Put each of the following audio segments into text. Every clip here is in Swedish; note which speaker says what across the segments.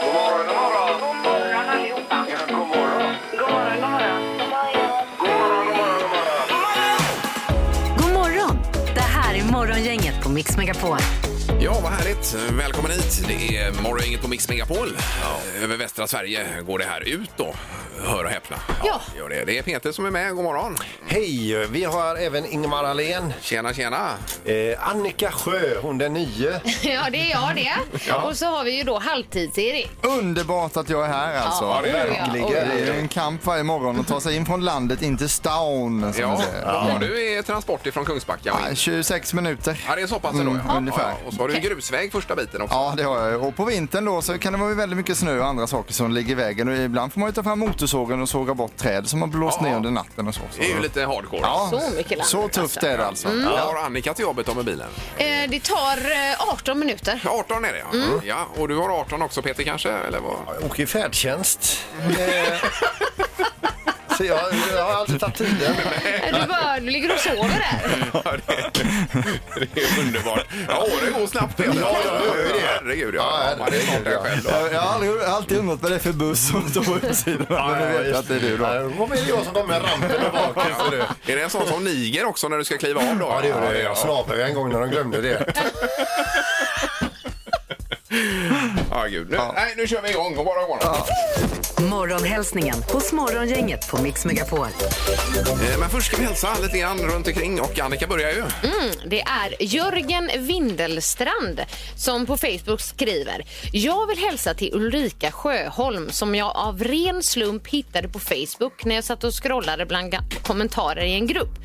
Speaker 1: God morgon, god morgon.
Speaker 2: God morgon allihopa.
Speaker 1: Ja, god morgon.
Speaker 2: God morgon, god morgon.
Speaker 1: God morgon, god morgon, god morgon.
Speaker 3: God morgon! Det här är Morgongänget på Mix Megapol.
Speaker 4: Ja, vad härligt. Välkommen hit. Det är Morgongänget på Mix Megapol. Över västra Sverige går det här ut då. Hör och häpna. Ja. Gör det. det är Peter som är med. God morgon.
Speaker 5: Hej! Vi har även Ingmar Ahlén,
Speaker 4: Tjena, tjena.
Speaker 5: eh, Annika Sjö, hon den nye.
Speaker 6: Ja, det är jag det. Och så har vi ju då halvtids-Erik.
Speaker 7: Underbart att jag är här alltså.
Speaker 6: Ja,
Speaker 4: det är det.
Speaker 7: det
Speaker 5: Verkligen.
Speaker 7: är ju en kamp varje morgon att ta sig in från landet in till stan. Som man
Speaker 4: Ja,
Speaker 7: säger.
Speaker 4: vad har du i transport ifrån Kungsbacka?
Speaker 7: Ja, 26 minuter.
Speaker 4: Ja, det är så pass ändå.
Speaker 7: Mm,
Speaker 4: ja.
Speaker 7: ungefär.
Speaker 4: Ja, och så har du ju grusväg första biten också.
Speaker 7: Ja, det har jag. ju. Och på vintern då så kan det vara väldigt mycket snö och andra saker som ligger i vägen. Och ibland får man ju ta fram motorsågen och såga bort träd som har blåst
Speaker 4: Ja.
Speaker 7: ner under natten och så. så.
Speaker 4: Det är ju lite hardcore.
Speaker 7: Ja,
Speaker 6: Så mycket land,
Speaker 7: Så tufft
Speaker 6: alltså.
Speaker 7: är det alltså.
Speaker 4: Vad har Annika till jobbet om med bilen?
Speaker 6: Eh, det tar eh, 18 minuter.
Speaker 4: 18 är det, ja.
Speaker 7: Mm.
Speaker 4: ja. Och du har 18 också, Peter, kanske? Eller vad?
Speaker 5: Åker i färdtjänst. Eh, Så jag, jag har aldrig tagit tiden.
Speaker 6: Du, bara, du ligger och sover där.
Speaker 4: Ja, det, det är underbart. Ja, åren går snabbt, Peter.
Speaker 5: Ja, ja, ja, ja.
Speaker 4: Herregud, ja.
Speaker 5: Ja,
Speaker 4: ja man är snart där själv. då.
Speaker 7: Jag jag har aldrig, alltid undrat vad det är för buss som står på utsidan. Men nu vet jag att det är du då.
Speaker 5: Ja, Då blir det jag som kommer med rampen och baken. ser du.
Speaker 4: Är det en sån som niger också när du ska kliva av då?
Speaker 5: Ja, det gjorde jag. Jag
Speaker 4: Ja,
Speaker 5: snapade en gång när de glömde det.
Speaker 4: ja gud. Nu, Nej, nu kör vi igång. God morgon, god morgon.
Speaker 3: Morgonhälsningen hos Morgongänget på Mix Megapol.
Speaker 4: Eh, Men först ska vi hälsa lite grann runt omkring och Annika börjar
Speaker 6: Mm.
Speaker 4: ju.
Speaker 6: Det är Jörgen Windelstrand som på Facebook skriver. Jag vill hälsa till Ulrika Sjöholm som jag av ren slump hittade på Facebook när jag satt och scrollade bland ga- kommentarer i en grupp.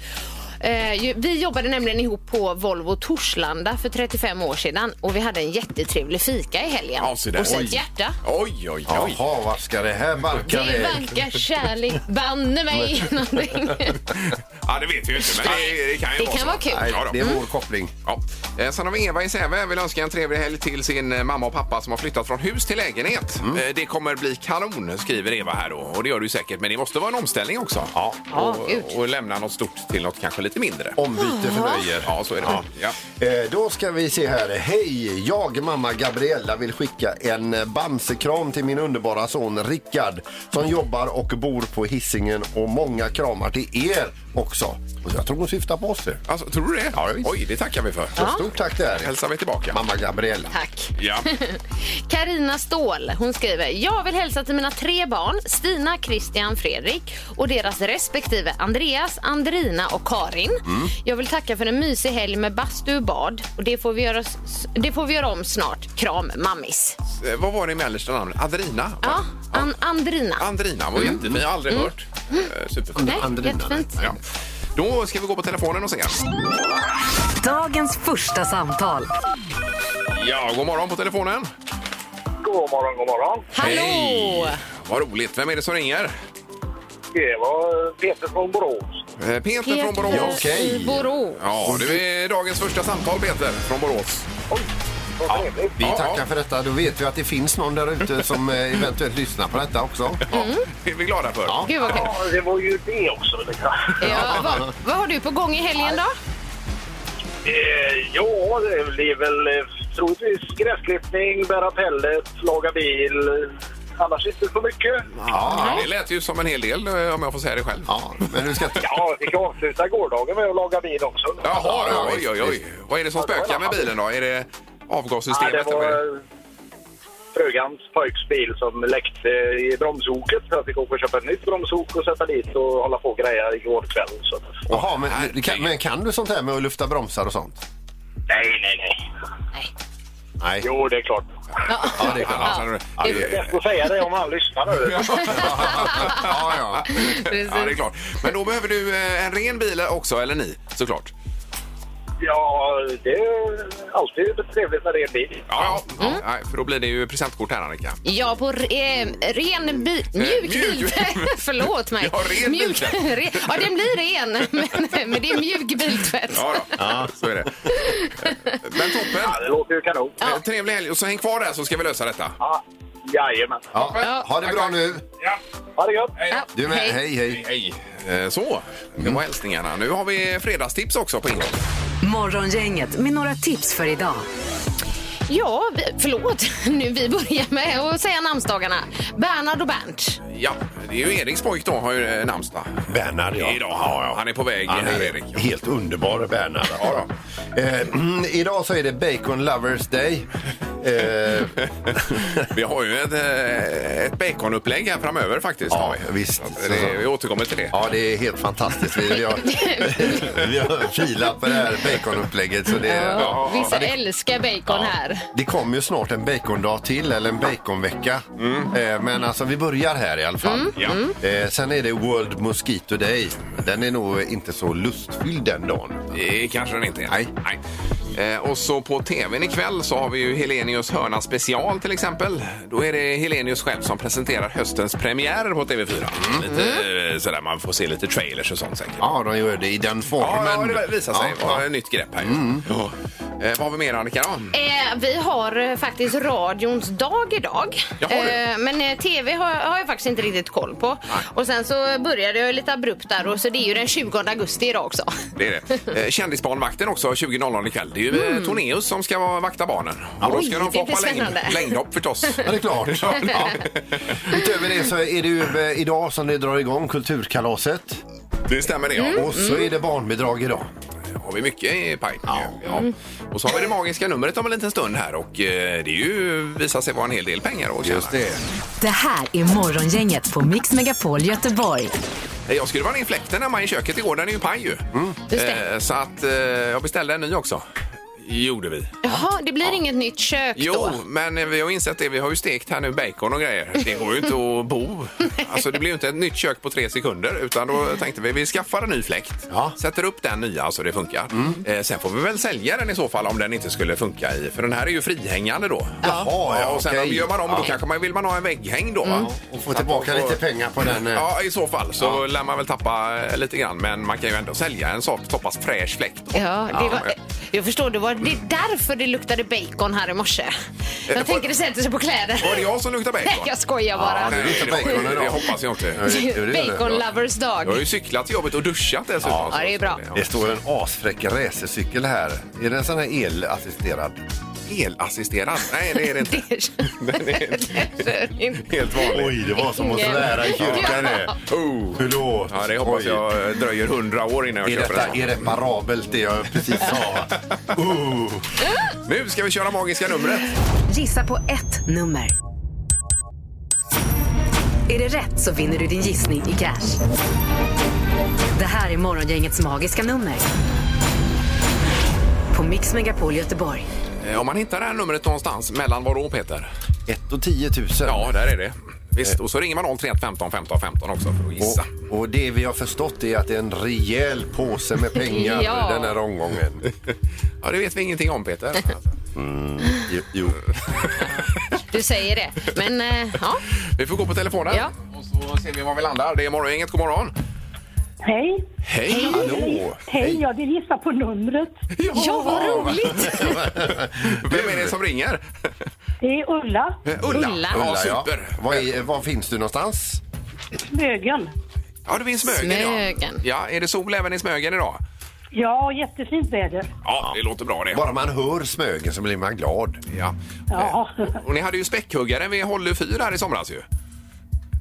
Speaker 6: Eh, ju- Vi jobbade nämligen ihop på Volvo Torslanda för 35 år sedan och vi hade en jättetrevlig fika i helgen.
Speaker 4: Ja, se där.
Speaker 6: och så
Speaker 4: Oj.
Speaker 6: ett hjärta.
Speaker 4: Oj, oj, oj.
Speaker 5: Jaha, vad ska det här
Speaker 6: Det
Speaker 5: barka iväg?
Speaker 6: vankar kärlek, banne mig någonting.
Speaker 4: Ja, det vet vi ju inte, men det, det kan ju
Speaker 6: Det
Speaker 4: vara
Speaker 6: kan
Speaker 4: så.
Speaker 6: vara kul.
Speaker 4: Nej,
Speaker 5: Nej,
Speaker 4: Ja,
Speaker 5: det
Speaker 4: då.
Speaker 5: är vår koppling.
Speaker 4: Ja. Eh, Sen har vi Eva i Säve. Vill önska en trevlig helg till sin eh, mamma och pappa som har flyttat från hus till lägenhet.
Speaker 5: Mm.
Speaker 4: Eh, Det kommer bli kanon, skriver Eva här då. Och det gör du säkert, men det måste vara en omställning också. Ja,
Speaker 6: gud.
Speaker 4: och, och lämna något stort till något kanske lite mindre.
Speaker 5: Ombyte förnöjer.
Speaker 4: Ja, så är det. Ja.
Speaker 5: Eh, Då ska vi se här. Hej! Jag, mamma Gabriella, vill skicka en eh, Bamsekram till min underbara son Rickard som jobbar och bor på Hisingen och många kramar till er också. Och jag tror hon syftar på oss. det.
Speaker 4: Alltså, tror du det? Oj, det tackar vi för.
Speaker 5: Så stort tack till er.
Speaker 4: Hälsar vi tillbaka.
Speaker 5: Mamma Gabriella.
Speaker 6: Tack.
Speaker 4: Ja.
Speaker 6: Karina Ståhl hon skriver Jag vill hälsa till mina tre barn Stina, Christian, Fredrik och deras respektive Andreas, Andrina och Karin. Jag vill tacka för en mysig helg med bastu och bad. Och det, får vi göra, s- det får vi göra om snart. Kram mammis.
Speaker 4: Eh, Vad var det i mellersta namnet? Adrina? va?
Speaker 6: Ja, an, Andrina.
Speaker 4: Andrina var
Speaker 5: Mm.
Speaker 4: jättefin. Jag har aldrig hört. Eh, Superfin.
Speaker 6: Mm. Nej,
Speaker 5: Andrina,
Speaker 6: jättefint.
Speaker 4: Ja. Då ska vi gå på telefonen och se.
Speaker 3: Dagens första samtal.
Speaker 4: Ja, god morgon på telefonen.
Speaker 1: God morgon, god morgon.
Speaker 6: Hallå!
Speaker 4: Hej! Vad roligt. Vem är det som ringer?
Speaker 1: Det var Peter från Borås.
Speaker 4: Eh, Peter, från Borås.
Speaker 6: Peter
Speaker 5: okej.
Speaker 6: i Borås.
Speaker 4: Ja, du är dagens första samtal, Peter, från Borås.
Speaker 1: Oj, vad trevligt.
Speaker 5: Vi
Speaker 4: Ja, ja.
Speaker 5: tackar för detta. Då vet vi att det finns någon där ute som eh, eventuellt lyssnar på detta också.
Speaker 4: Mm. Det är vi glada för. Ja.
Speaker 6: Gud vad kul.
Speaker 1: Ja, det var ju det också. vet du.
Speaker 6: Ja, vad, vad har du på gång i helgen då?
Speaker 1: Eh, Ja, det blir väl eh, troligtvis gräsklippning, bära pellet, laga bil. Annars inte så mycket.
Speaker 4: det lät ju som en hel del, eh, om jag får säga det själv.
Speaker 5: Ja, men du ska inte...
Speaker 1: Ja, vi kan avsluta gårdagen med att laga bil också.
Speaker 4: Jaha,
Speaker 5: Ja,
Speaker 4: oj, oj, oj. Vad är det som spökar med bilen då? Är det
Speaker 1: Ja,
Speaker 4: avgassystemet?
Speaker 1: det
Speaker 4: eller vad är det?
Speaker 1: var frugans pojks bil som läckte i bromshoket. Så jag fick åka och köpa ett nytt bromshok och sätta dit och hålla på och greja igår kväll. Så.
Speaker 5: Jaha, men, det kan, men kan du sånt här med att lufta bromsar och sånt?
Speaker 1: Nej, nej, nej.
Speaker 5: Nej.
Speaker 1: Jo, det är klart.
Speaker 5: Ja, det är klart.
Speaker 4: Ja, ja,
Speaker 1: Det är
Speaker 4: det-
Speaker 1: bäst att säga det om han lyssnar nu.
Speaker 5: Ja, ja.
Speaker 4: ja, det är klart. Men då behöver du eh, en ren bil också, eller ni, såklart.
Speaker 1: Ja, det är alltid trevligt när det är en bil.
Speaker 4: Ja, ja.
Speaker 5: Mm.
Speaker 4: ja nej, för då blir det ju presentkort här, Annika.
Speaker 6: Ja, på re, ren bi, mjuk
Speaker 4: mjuk.
Speaker 6: bil. Förlåt mig.
Speaker 4: Ja, ren
Speaker 6: mjuk,
Speaker 4: biltvätt.
Speaker 6: re, ja, den blir ren, men, men det är mjuk biltvätt.
Speaker 4: Ja, då. så är det. Eh, Men
Speaker 1: Ja, det
Speaker 4: toppen.
Speaker 1: låter ju kanon.
Speaker 4: Eh, Trevlig helg och så häng kvar där så ska vi lösa detta.
Speaker 1: Ja, jajamän.
Speaker 5: Ja. Ha det bra nu.
Speaker 1: Ha det gött!
Speaker 6: Ja,
Speaker 5: Du med.
Speaker 6: hej.
Speaker 5: Hej, hej.
Speaker 4: Hej! Eh, Så, det var hälsningarna. Nu har vi fredagstips också på ingång.
Speaker 3: Morgongänget med några tips för idag.
Speaker 6: Ja, vi, förlåt. Nu vi börjar med att säga namnsdagarna. Bernhard och Bernt.
Speaker 4: Ja, det är ju Eriks pojk då, har ju eh, namnsdag.
Speaker 5: Bernhard, ja.
Speaker 4: Idag, ja, ja, han är på väg
Speaker 5: Han
Speaker 4: här,
Speaker 5: är
Speaker 4: Erik.
Speaker 5: helt underbar, Bernhard.
Speaker 4: Ja, då.
Speaker 5: Eh, idag så är det Bacon Lovers Day. Eh,
Speaker 4: Vi har ju ett, eh, ett baconupplägg här framöver faktiskt.
Speaker 5: Ja,
Speaker 4: har vi.
Speaker 5: visst.
Speaker 4: Så att Det, vi återkommer till det.
Speaker 5: ja, det är helt fantastiskt. Vi, vi, har, vi har filat på det här baconupplägget. Så det, ja,
Speaker 6: Vissa
Speaker 5: det,
Speaker 6: älskar bacon här.
Speaker 5: det kommer ju snart en bacondag till, eller en baconvecka. Eh, men alltså, vi börjar här i alla fall.
Speaker 4: Ja.
Speaker 5: Eh, sen är det World Mosquito Day. Den är nog inte så lustfylld den dagen.
Speaker 4: Det kanske den inte är.
Speaker 5: Nej.
Speaker 4: Eh, och så på tvn ikväll så har vi ju Helenius hörna special till exempel. Då är det Helenius själv som presenterar höstens premiärer på TV4. Lite eh, sådär, man får se lite trailers och sånt säkert.
Speaker 5: Ja, de gör det i den
Speaker 4: Ja,
Speaker 5: formen.
Speaker 4: ja, det visar sig
Speaker 5: Ja,
Speaker 4: vara
Speaker 5: ja.
Speaker 4: ett nytt grepp här. Ja. Eh, vad har vi mer Annika? Då?
Speaker 6: Eh, vi har eh, faktiskt radions dag idag.
Speaker 4: Jaha, du.
Speaker 6: men eh, tv har, har jag faktiskt inte riktigt koll på. Och sen så började jag lite abrupt där och så det är ju den 20 augusti idag också.
Speaker 4: Det är det. Eh, Kändisbarnvakten också 20.00 ikväll. Det är ju mm. Tornéus som ska vara- vakta barnen. Och då
Speaker 6: Oj,
Speaker 4: ska de få
Speaker 6: det blir
Speaker 4: hoppa längd,
Speaker 6: spännande.
Speaker 4: längdhopp förstås.
Speaker 5: Ja, det är klart. Ja. Utöver det så är det ju eh, idag som det drar igång Kulturkalaset.
Speaker 4: Det stämmer det ja.
Speaker 5: Och så är det barnbidrag idag.
Speaker 4: har vi mycket i pipen. Ja. Och så har vi det magiska numret om en liten stund här och eh, det är ju visar sig vara en hel del pengar att tjäna.
Speaker 3: Det här är Morgongänget på Mix Megapol Göteborg.
Speaker 4: Eh, Jag skulle vara in fläkten hemma i köket igår, den är ju paj ju.
Speaker 6: Just det.
Speaker 4: Eh, Så att eh, jag beställde en ny också. Gjorde vi.
Speaker 6: Jaha, det blir inget nytt kök
Speaker 4: Jo,
Speaker 6: då?
Speaker 4: men eh, vi har insett det. Vi har ju stekt här nu bacon och grejer. Det går ju inte att bo. Alltså det blir ju inte ett nytt kök på tre sekunder utan då tänkte vi vi skaffar en ny fläkt.
Speaker 5: Ja. Mm.
Speaker 4: Sätter upp den nya så det funkar. Eh, sen får vi väl sälja den i så fall om den inte skulle funka i. För den här är ju frihängande då.
Speaker 5: Jaha, ja,
Speaker 4: och sen
Speaker 5: okej.
Speaker 4: gör man om då
Speaker 5: Ja.
Speaker 4: kanske man vill man ha en vägghäng då. va?
Speaker 5: Och få tillbaka
Speaker 4: Att man får-
Speaker 5: lite pengar på den. eh.
Speaker 4: Ja, i så fall så lär man väl tappa eh, lite grann. Men man kan ju ändå sälja en sak, så pass fräsch fläkt. då.
Speaker 6: Ja, det var, eh, jag förstår, det var det är därför det luktade bacon här i morse.
Speaker 4: Eh,
Speaker 6: Jag tänker det sätter sig på
Speaker 4: Var
Speaker 6: kläder.
Speaker 4: det jag som luktar bacon?
Speaker 6: Nej, jag skojar bara.
Speaker 4: Nej,
Speaker 5: luktar
Speaker 4: det var-
Speaker 5: bacon idag.
Speaker 4: Det hoppas jag inte.
Speaker 5: det- det- det-
Speaker 6: Bacon lovers
Speaker 4: Jag har
Speaker 6: dag.
Speaker 4: ju cyklat till jobbet och duschat dessutom.
Speaker 6: Ja, det är bra.
Speaker 5: Det står en asfräck racercykel här. Är det en sån här elassisterad?
Speaker 4: Elassisterad? Nej, det är det inte. Den är helt vanlig.
Speaker 5: Oj, det var som
Speaker 6: att svära i kyrkan,
Speaker 5: det.
Speaker 4: Oh.
Speaker 5: Förlåt.
Speaker 4: Ja, det hoppas jag eh, dröjer hundra år innan jag
Speaker 5: Är
Speaker 4: köper
Speaker 5: detta
Speaker 4: den.
Speaker 5: irreparabelt det jag precis sa? Uh.
Speaker 4: Nu ska vi köra magiska numret.
Speaker 3: Gissa på ett nummer. Är det rätt så vinner du din gissning i cash. Det här är Morgongängets magiska nummer. På Mix Megapol Göteborg.
Speaker 4: Eh, Om man hittar det här numret någonstans, mellan vadå Peter?
Speaker 5: 1 och 10 000.
Speaker 4: Ja, där är det. Visst, och så ringer man 031 15 15 15 också för att gissa.
Speaker 5: Och, och det vi har förstått är att det är en rejäl påse med pengar
Speaker 6: Ja.
Speaker 5: den här omgången.
Speaker 4: Ja, det vet vi ingenting om Peter. Alltså.
Speaker 5: Jo, jo.
Speaker 6: Du säger det. Men eh, ja,
Speaker 4: Vi får gå på telefonen
Speaker 6: Ja.
Speaker 4: och så ser vi var vi landar. Det är Morgongänget, god morgon.
Speaker 8: Hej!
Speaker 4: Hej!
Speaker 5: Hallå!
Speaker 8: Hej, jag vill gissa på numret.
Speaker 6: ja vad roligt.
Speaker 4: Vem är det som ringer?
Speaker 8: Det är Ulla,
Speaker 4: Eh, Ulla.
Speaker 6: Ulla.
Speaker 4: Ja,
Speaker 5: Ulla, ja.
Speaker 4: super.
Speaker 5: Var, är, var finns du någonstans?
Speaker 8: Smögen.
Speaker 4: Ja, det finns Smögen.
Speaker 6: Smögen.
Speaker 4: Ja. ja, är det sol även i Smögen idag?
Speaker 8: Ja, jättefint väder.
Speaker 4: Ja, det låter bra det.
Speaker 5: Bara man hör Smögen så blir man glad.
Speaker 4: Ja.
Speaker 8: Ja,
Speaker 4: Eh, Och ni hade ju späckhuggaren vid Hållö fyr här i somras ju.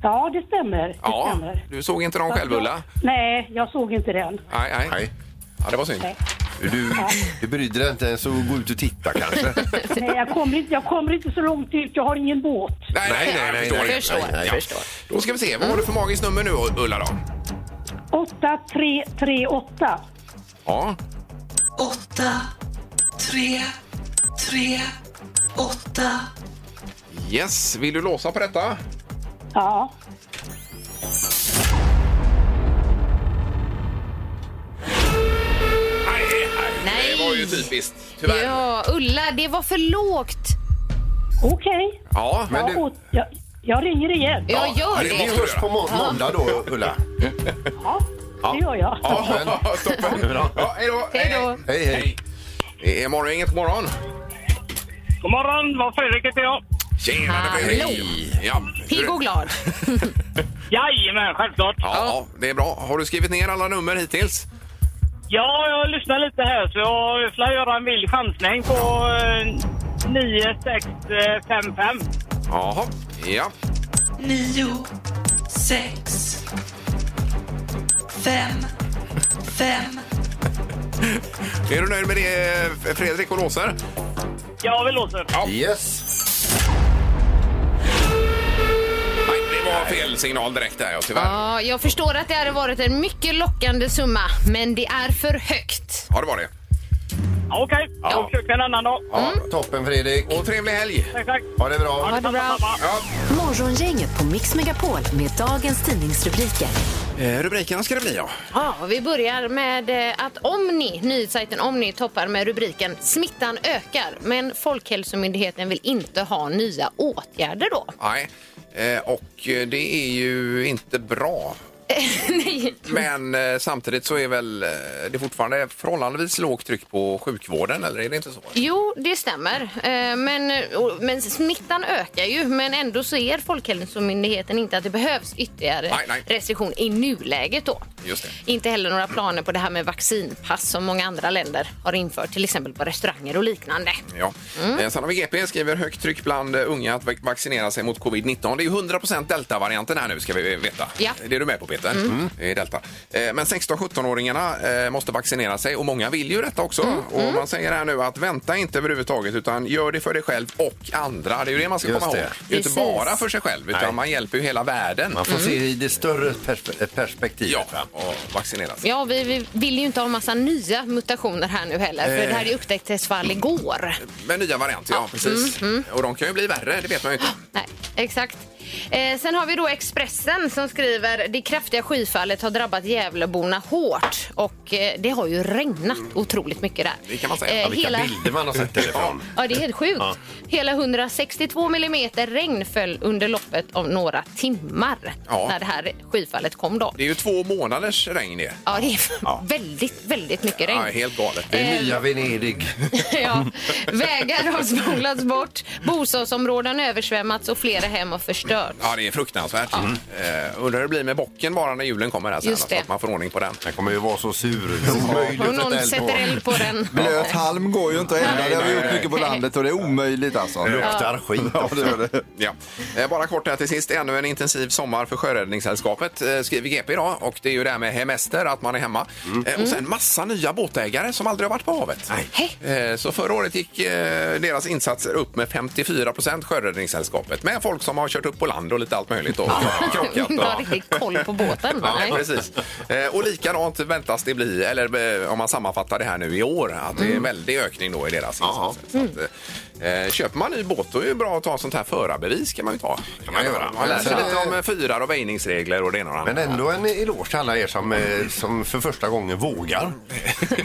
Speaker 8: ja det stämmer. Det
Speaker 4: Ja,
Speaker 8: stämmer.
Speaker 4: du såg inte dem själv Ulla?
Speaker 8: Nej, jag såg inte den.
Speaker 4: Nej, nej.
Speaker 5: Nej.
Speaker 4: Ja, det var synd.
Speaker 8: Nej.
Speaker 5: Du, du brydde dig inte ens att gå ut och titta kanske?
Speaker 8: Nej, jag, kommer inte, jag kommer inte så långt ut, jag har ingen båt.
Speaker 4: Nej,
Speaker 5: Nej, nej,
Speaker 4: jag
Speaker 5: nej,
Speaker 4: förstår
Speaker 5: nej,
Speaker 4: det.
Speaker 6: förstår, Mm.
Speaker 4: Ja. Då ska vi se, vad har du för magiskt nummer nu Ulla då?
Speaker 8: 8338.
Speaker 4: Ja,
Speaker 9: 8, 3, 3, 8.
Speaker 4: yes. Vill du låsa på detta?
Speaker 8: Ja,
Speaker 4: Nej, nej.
Speaker 6: Nej.
Speaker 4: det var ju typiskt. Tyvärr. Ja,
Speaker 6: Ja, Ulla, det var för lågt.
Speaker 8: okej.
Speaker 4: men
Speaker 8: Ja, och- jag, jag ringer igen.
Speaker 6: Jag
Speaker 4: ja,
Speaker 6: gör
Speaker 4: det
Speaker 5: Vi
Speaker 6: det.
Speaker 4: måste-
Speaker 5: hörs på må måndag då, Ulla.
Speaker 8: Ja, det gör jag.
Speaker 4: Ja, toppen. Ja, hej då.
Speaker 6: Hej då.
Speaker 5: Hej, hej.
Speaker 4: Det är morgon, inget morgon.
Speaker 1: God morgon, vad Fredrik heter jag.
Speaker 4: Tjenare
Speaker 6: Hallå.
Speaker 4: Fredrik. Ja,
Speaker 6: Pigg och glad.
Speaker 1: Jajamän, självklart.
Speaker 4: Ja, ja, det är bra. Har du skrivit ner alla nummer hittills?
Speaker 1: Ja, jag lyssnar lite här så jag får göra en vild chansning på eh,
Speaker 10: 9655.
Speaker 4: Jaha, ja.
Speaker 9: nio, sex, fem, fem,
Speaker 4: Är du nöjd med det, eh, Fredrik och låser?
Speaker 10: Ja, vi låser.
Speaker 5: Yes.
Speaker 4: Nej, det var fel signal direkt där, ja, tyvärr.
Speaker 6: Ja, jag förstår att det hade varit en mycket lockande summa, men det är för högt.
Speaker 4: Ja, det var det.
Speaker 10: Ja, Okej, då försöker vi en annan dag.
Speaker 5: Ja, toppen Fredrik.
Speaker 4: Och trevlig helg!
Speaker 10: Tack, tack.
Speaker 5: Ha det bra.
Speaker 6: Ha det bra.
Speaker 3: Morgongänget på Mix Megapol med dagens tidningsrubriker.
Speaker 4: Eh, rubrikerna ska det bli, ja.
Speaker 6: Ja, vi börjar med eh, att Omni, nyhetssajten Omni toppar med rubriken Smittan ökar, men Folkhälsomyndigheten vill inte ha nya åtgärder då.
Speaker 4: Nej. Eh, och eh, det är ju inte bra.
Speaker 6: Nej.
Speaker 4: Men eh, samtidigt så är väl eh, det fortfarande förhållandevis lågt tryck på sjukvården, eller är det inte så?
Speaker 6: Jo, det stämmer. Eh, Men, och- men smittan ökar ju, men ändå ser Folkhälsomyndigheten inte att det behövs ytterligare
Speaker 4: Nej, nej.
Speaker 6: restriktion i nuläget. Då.
Speaker 4: Just det.
Speaker 6: Inte heller några planer på det här med vaccinpass som många andra länder har infört, till exempel på restauranger och liknande.
Speaker 4: Ja.
Speaker 6: Mm.
Speaker 4: Eh, Sen har vi GP skriver högt tryck bland eh, unga att va- vaccinera sig mot covid-19. Det är ju 100% delta-varianten här nu ska vi veta. Eh,
Speaker 6: Ja. Mm.
Speaker 4: Det är du med på Peter. Mm. Det är delta. Eh, Men 16-17-åringarna eh, måste vaccinera sig och många vill ju detta också.
Speaker 6: Mm.
Speaker 4: Och man säger här nu att vänta inte överhuvudtaget utan gör det för dig själv och andra. Det är ju det man ska
Speaker 5: Just
Speaker 4: komma
Speaker 5: det.
Speaker 4: ihåg. Det är ju inte
Speaker 6: Precis.
Speaker 4: bara för sig själv utan
Speaker 5: Nej.
Speaker 4: man hjälper ju hela världen. Mm.
Speaker 5: Man får se i det större pers- perspektivet.
Speaker 4: Ja,
Speaker 5: va?
Speaker 4: och vaccinera sig.
Speaker 6: Ja, vi, vi vill ju inte ha en massa nya mutationer här nu heller, för det här är
Speaker 4: Eh.
Speaker 6: ju upptäckt ett fall igår.
Speaker 4: Med nya varianter, ja precis. Och de kan ju bli värre, det vet man ju inte.
Speaker 6: Nej, exakt. Eh, sen har vi då Expressen som skriver det kraftiga skyfallet har drabbat Gävleborna hårt och eh, det har ju regnat otroligt mycket där.
Speaker 4: Mm.
Speaker 6: Eh,
Speaker 4: Det kan man säga. Ja,
Speaker 5: Vilka bilder man har sett därifrån.
Speaker 6: Ja, det är helt sjukt. Hela 162 millimeter regn föll under loppet av några timmar
Speaker 4: Ja.
Speaker 6: när det här skyfallet kom. Då.
Speaker 4: Det är ju två månaders regn det.
Speaker 6: Ja, det är väldigt, väldigt mycket
Speaker 4: Ja,
Speaker 6: regn. Eh.
Speaker 4: helt galet.
Speaker 5: Det är nya Venedig.
Speaker 6: ja. Vägar har spolats bort, bostadsområden översvämmats och flera hem har förstörts.
Speaker 4: Ja, det är fruktansvärt. Eh, undrar hur det blir med bocken bara när julen kommer här sen,
Speaker 6: Just
Speaker 4: så att
Speaker 6: det.
Speaker 4: man får ordning på den.
Speaker 5: Den kommer ju vara så sur. Det är omöjligt
Speaker 6: Och
Speaker 5: att
Speaker 6: någon
Speaker 5: elda på.
Speaker 6: sätter eld på den.
Speaker 7: Blöt halm går ju inte att elda. Det har vi
Speaker 4: nej,
Speaker 7: gjort
Speaker 4: nej.
Speaker 7: mycket på landet och det är omöjligt alltså.
Speaker 5: Luktar skit.
Speaker 7: Ja, det gör det.
Speaker 4: Ja. Eh, bara kort här till sist. Ännu en intensiv sommar för Sjöräddningssällskapet eh, skriver GP idag. Och det är ju det här med hemester, att man är hemma.
Speaker 6: Mm.
Speaker 4: Eh, och sen massa nya båtägare som aldrig har varit på havet. Eh, så förra året gick eh, deras insatser upp med 54 procent Sjöräddningssällskapet. Med folk som har kört upp på land och lite allt möjligt. Och krockat.
Speaker 6: Inte har riktigt koll på båten. va?
Speaker 4: Ja,
Speaker 6: Nej.
Speaker 4: precis. Eh, Och likadant väntas det bli, eller eh, om man sammanfattar det här nu i år, att det är en väldig ökning då i deras insatser. Så att, eh, Köper man ny båt då är det bra att ta sånt här förarbevis kan man ju ta. Kan man,
Speaker 5: göra.
Speaker 4: man lär sig
Speaker 5: Men-
Speaker 4: lite om eh, fyrar och väjningsregler och det ena och det
Speaker 5: Men
Speaker 4: andra.
Speaker 5: ändå en eloge till alla er som, eh, som för första gången vågar.
Speaker 7: Det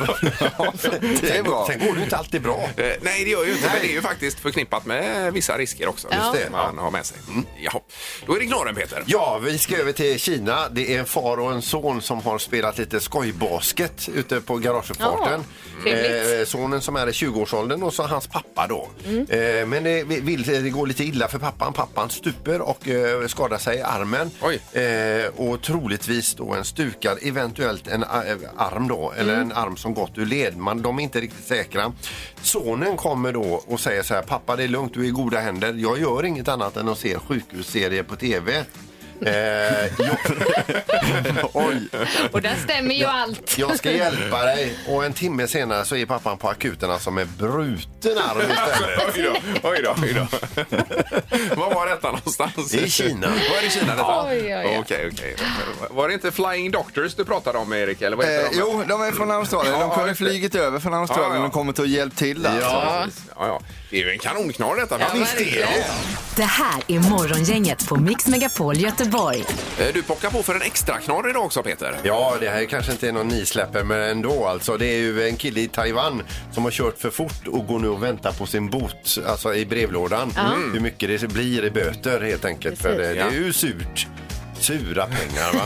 Speaker 7: är bra.
Speaker 5: Sen går det ju inte alltid bra.
Speaker 4: Eh, Nej, det gör ju inte. Men det är ju faktiskt förknippat med vissa risker också.
Speaker 6: Just
Speaker 5: det.
Speaker 4: Man har med sig. Jaha. Då är det knorren, Peter.
Speaker 5: Ja, vi ska över till Kina. Det är en far och en son som har spelat lite skojbasket ute på garageuppfarten.
Speaker 6: Ja, trevligt.
Speaker 5: Eh, sonen som är i 20-årsåldern och så hans pappa då. Eh, men det, vill, det går lite illa för pappan. Pappan stuper och eh, skadar sig i armen.
Speaker 4: Oj.
Speaker 5: Eh, och troligtvis då en stukad, eventuellt en a- eh, arm då, eller en arm som gått ur led. Man, de är inte riktigt säkra. Sonen kommer då och säger så här, pappa det är lugnt, du är i goda händer. Jag gör inget annat än att se sjukhusserier på tv. Eh, jag, oj,
Speaker 6: Och där stämmer ju allt.
Speaker 5: jag ska hjälpa dig. Och en timme senare så är pappan på akuten alltså med bruten arm istället.
Speaker 4: Oj då, oj då, oj då. Var var detta någonstans?
Speaker 5: I Kina.
Speaker 4: Var det i Kina detta?
Speaker 6: Oj, oj, oj.
Speaker 4: Okej, okej. Var det inte Flying Doctors du pratade om, Erik? Eller vad heter
Speaker 7: Eh,
Speaker 4: de?
Speaker 7: jo, de är från Australien. De
Speaker 4: Ja,
Speaker 7: kunde
Speaker 4: just det.
Speaker 7: flugit över från Australien
Speaker 4: Ja, ja.
Speaker 7: och kommit och hjälpt till där.
Speaker 4: Ja. precis. ja, ja. Det är ju en kanonknorr detta.
Speaker 6: Ja,
Speaker 4: Visst är det.
Speaker 3: Det här är Morgongänget på Mix Megapol Göteborg.
Speaker 4: Eh, Du pockar på för en extra knorr idag också, Peter.
Speaker 5: Ja, det här kanske inte är någon nisläpper, men ändå. Alltså, det är ju en kille i Taiwan som har kört för fort och går nu och väntar på sin bot, alltså i brevlådan. Mm. Hur mycket det blir i böter helt enkelt, för det, det är ju surt. Sura pengar va?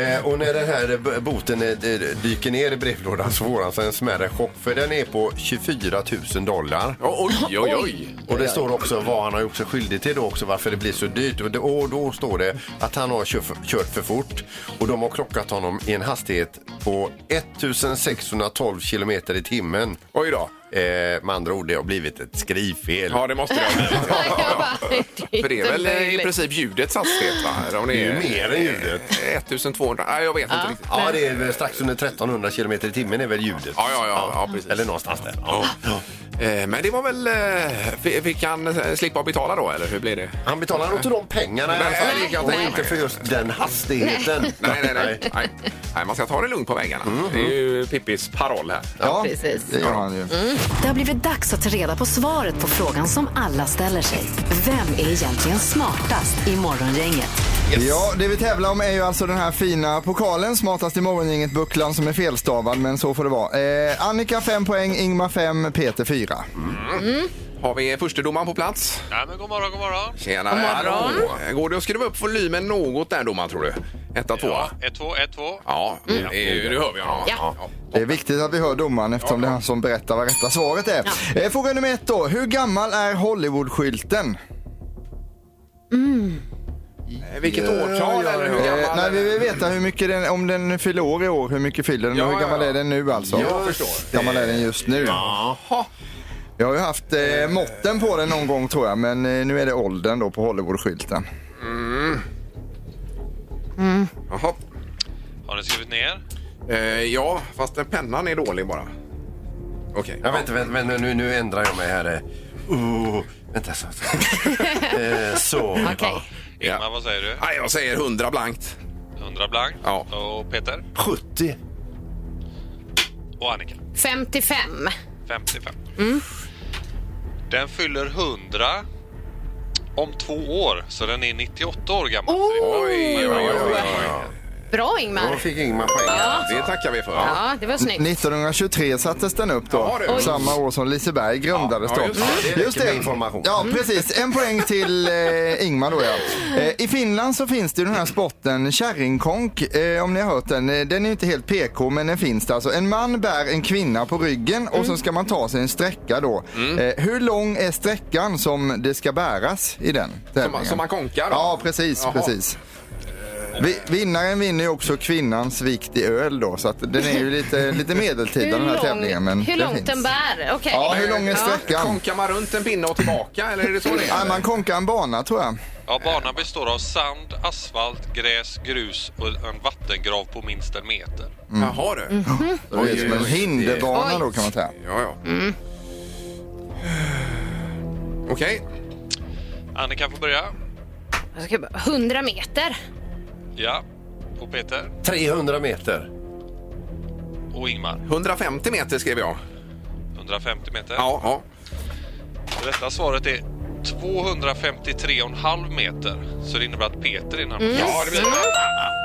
Speaker 5: eh, och när den här b- boten eh, d- dyker ner i brevlådan så får han sig en smärre chock för den är på 24 000 dollar.
Speaker 4: Oh, oj, oj, oj.
Speaker 5: Och det står också vad han har gjort sig skyldig till då också, varför det blir så dyrt. Och, det, och då står det att han har kört, kört för fort och de har klockat honom i en hastighet på 1612 kilometer i timmen.
Speaker 4: Oj då.
Speaker 5: Eh, med andra ord, det har blivit ett skrivfel.
Speaker 4: Ja, det måste det ha blivit. Ja,
Speaker 6: Jag
Speaker 4: ja, ja.
Speaker 6: bara, det
Speaker 4: För det är väl
Speaker 6: inte
Speaker 4: eh, i
Speaker 6: möjligt.
Speaker 4: princip ljudets hastighet va? Eller Om
Speaker 5: Det är ju mer än ljudet.
Speaker 4: eh, 1200, nej jag vet inte riktigt.
Speaker 5: Ja, det är väl strax under 1300 kilometer i timmen är väl ljudet.
Speaker 4: Ja, ja, ja, ja precis.
Speaker 5: Eller någonstans där.
Speaker 4: Ja. Eh, Men det var väl... eh, fi- Fick han eh, slippa att betala då eller hur blir det?
Speaker 5: Han betalar inte de pengarna i
Speaker 4: Nej,
Speaker 5: alla
Speaker 4: nej,
Speaker 5: fall. Och
Speaker 4: nej.
Speaker 5: inte för just den hastigheten.
Speaker 4: Nej, nej, nej. nej. nej man ska ta det lugnt på vägarna. Det är ju Pippis paroll här.
Speaker 7: Ja,
Speaker 6: precis.
Speaker 7: det gör han ju.
Speaker 3: Det har blivit dags att ta reda på svaret på frågan som alla ställer sig. Vem är egentligen smartast i Morgongänget?
Speaker 7: Ja, det vi tävlar om är ju alltså den här fina pokalen, smartast i morgongänget bucklan som är felstavad, men så får det vara. Eh, Annika 5 poäng, Ingmar 5, Peter 4.
Speaker 4: Har vi förstedomaren på plats?
Speaker 10: Nej, men god morgon, god morgon.
Speaker 4: Tjena! Hallå. Går det att skruva upp volymen något där domaren tror du? Etta, tvåa?
Speaker 10: 1-2, 1-2.
Speaker 4: Ja, det är ju- nu hör vi honom.
Speaker 6: Ja.
Speaker 7: Det är viktigt att vi hör domaren eftersom det är han som berättar vad rätta svaret är. Eh, fråga nummer ett då. Hur gammal är Hollywoodskylten?
Speaker 4: Eh, Vilket årtal eller hur
Speaker 7: Eh,
Speaker 4: gammal?
Speaker 7: nej, vi vill veta hur mycket den, om den fyller år i år, hur mycket fyller den
Speaker 4: Ja,
Speaker 7: och hur gammal
Speaker 4: ja, ja.
Speaker 7: är den nu alltså?
Speaker 4: Jag förstår.
Speaker 7: Hur gammal är den just nu? Jaha. Jag har ju haft eh, måtten på den någon gång tror jag, men eh, nu är det åldern då på Hollywoodskylten.
Speaker 4: Jaha.
Speaker 10: Har ni skrivit ner?
Speaker 4: Eh, ja, fast den pennan är dålig bara. Okej.
Speaker 5: Ja, vänta, vänta, vänta nu, nu ändrar jag mig här. eh. Oh, vänta, så. så. eh, så.
Speaker 6: Okej.
Speaker 4: Ja.
Speaker 10: vad säger du?
Speaker 4: Nej, jag säger 100 blankt.
Speaker 10: 100 blankt.
Speaker 4: Ja.
Speaker 10: Och Peter?
Speaker 5: 70.
Speaker 10: Och Annika?
Speaker 6: 55.
Speaker 10: 55. Den fyller 100 om två år, så den är 98 år gammal.
Speaker 6: Oh,
Speaker 4: Oj, oj, oj, oj, oj.
Speaker 6: bra
Speaker 5: Då
Speaker 6: Ingmar.
Speaker 5: fick Ingmar poäng.
Speaker 4: Det tackar vi för.
Speaker 6: Ja, det var snyggt.
Speaker 7: 1923 sattes den upp då.
Speaker 4: Jaha, du.
Speaker 7: Samma år som Liseberg grundades
Speaker 4: Ja, ja,
Speaker 7: då. Mm.
Speaker 4: just det.
Speaker 5: Det räcker med information.
Speaker 7: Ja, precis. En poäng till eh, Ingmar då ja. Eh, I Finland så finns det ju den här sporten kärringkonk, eh, om ni har hört den. Eh, Den är ju inte helt PK, men den finns det alltså. En man bär en kvinna på ryggen och så ska man ta sig en sträcka då.
Speaker 4: Mm.
Speaker 7: Eh, hur lång är sträckan som det ska bäras i den tävlingen?
Speaker 4: som man konkar då?
Speaker 7: Ja, precis,
Speaker 4: Jaha.
Speaker 7: precis. Vi, vinnaren vinner ju också kvinnans vikt i öl då, så att den är ju lite, lite medeltida den
Speaker 6: Hur
Speaker 7: här
Speaker 6: lång-
Speaker 7: tävlingen. Men
Speaker 6: hur
Speaker 7: den
Speaker 6: långt
Speaker 7: finns.
Speaker 6: den bär? Okej.
Speaker 7: Ja, hur lång är sträckan?
Speaker 4: Konkar man runt en pinne och tillbaka eller är det så det
Speaker 7: Ja,
Speaker 4: är?
Speaker 7: man konkar en bana tror jag.
Speaker 10: Ja, banan består av sand, asfalt, gräs, grus och en vattengrav på minst en meter.
Speaker 4: Jaha du.
Speaker 7: Mm. Det är som en hinderbana
Speaker 6: Oj.
Speaker 7: då kan man säga.
Speaker 4: Ja, ja. Okej.
Speaker 10: Annika får börja.
Speaker 6: Jag ska bara- 100 meter.
Speaker 10: Ja. Och Peter.
Speaker 5: 300 meter.
Speaker 10: Och Ingmar.
Speaker 4: 150 meter skrev jag.
Speaker 10: 150 meter.
Speaker 4: Ja, ja.
Speaker 10: Rätta svaret är 253,5 meter. Så det innebär att Peter är närmast.
Speaker 4: Ja, det blir...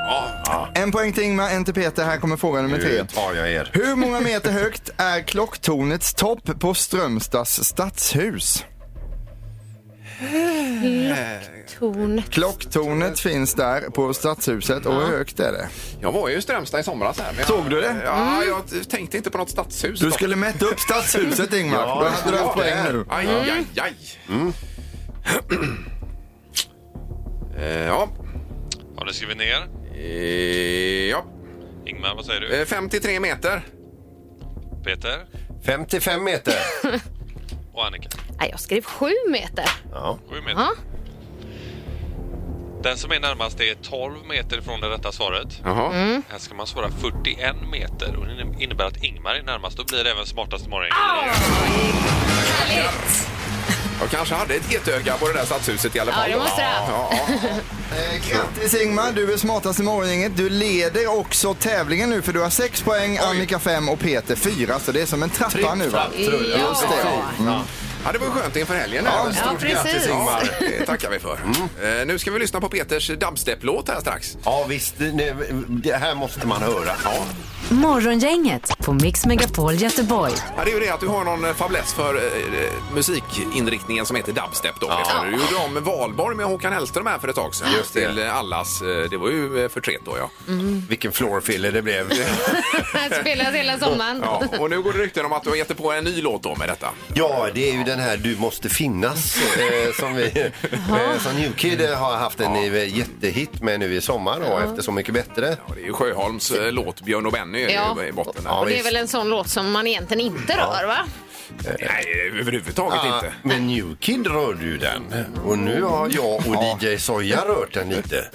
Speaker 4: Ja, ja.
Speaker 7: En poäng till Ingmar, en till Peter. Här kommer fråga nummer
Speaker 5: Nu
Speaker 7: tre.
Speaker 5: tar jag er.
Speaker 7: Hur många meter högt är klocktornets topp på Strömstads stadshus?
Speaker 6: Tornet.
Speaker 7: Klocktornet finns där på stadshuset och hur högt är det?
Speaker 4: Jag var ju i Strömstad i somras. Här, men jag...
Speaker 7: Såg du det?
Speaker 4: Ja, jag t- tänkte inte på något stadshus.
Speaker 7: Du skulle mäta upp stadshuset Ingmar.
Speaker 5: Ja,
Speaker 7: Då hade du haft poäng nu.
Speaker 4: Aj, aj, aj. Eh, ja.
Speaker 10: Har ni skrivit ner?
Speaker 4: Eh, ja.
Speaker 10: Ingmar, vad säger du?
Speaker 4: Eh, 53 meter.
Speaker 10: Peter
Speaker 5: 55 meter.
Speaker 10: och Annika.
Speaker 6: Nej, jag skrev 7 meter.
Speaker 5: Ja.
Speaker 10: 7 meter.
Speaker 6: Ja.
Speaker 10: Den som är närmast är 12 meter från det rätta svaret. Mm.
Speaker 4: Jaha.
Speaker 10: Här ska man svara 41 meter och det innebär att Ingmar är närmast. Då blir det även smartast imorgon.
Speaker 4: Jag kanske hade ett getöga på det där stadshuset i alla
Speaker 6: Ja,
Speaker 4: fall.
Speaker 6: det måste det ha.
Speaker 4: ja, ja, ja.
Speaker 7: Eh, Grattis Ingmar, du är smartast i morgongänget. Du leder också tävlingen nu för du har 6 poäng, Annika 5 och Peter 4. Så det är som en trappa nu va?
Speaker 6: Ja.
Speaker 4: Ja, det var skönt inför helgen.
Speaker 7: Ja,
Speaker 4: här.
Speaker 7: ja,
Speaker 4: Stort
Speaker 6: Mm. precis. Mm.
Speaker 4: grattis, Ingmar. Det tackar vi för. Eh, nu ska vi lyssna på Peters dubstep-låt här strax.
Speaker 5: Ja, visst. Det, det här måste man höra. Ja.
Speaker 3: Morgongänget på Mix Megapol Göteborg.
Speaker 4: Ja, det är ju det att du har någon eh, fäbless för eh, musikinriktningen som heter dubstep. Då, Peter. Du gjorde om Valborg med Håkan Hellström här för ett tag sedan.
Speaker 5: Just det. Mm.
Speaker 4: Till eh, allas, eh, det var ju eh, förtret då ja.
Speaker 5: Vilken floorfiller det blev.
Speaker 6: Spelas hela sommaren.
Speaker 4: ja. Och nu går det rykten om att du har gett dig på en ny låt då med detta.
Speaker 5: Ja, det är ju den den här Du måste finnas eh, som vi eh, som New Kid eh, har haft en eh, jättehit med nu i sommar då, efter Så mycket bättre.
Speaker 4: Ja, det är ju Sjöholms eh, låt Björn och Benny är det
Speaker 6: Ja.
Speaker 4: ju i botten. Där.
Speaker 5: Ja,
Speaker 6: Och det är
Speaker 5: visst.
Speaker 6: väl en sån låt som man egentligen inte rör, va?
Speaker 4: Nej, överhuvudtaget
Speaker 5: Ah,
Speaker 4: inte.
Speaker 5: men New Kid rörde ju den och nu har jag och DJ Soja rört den lite.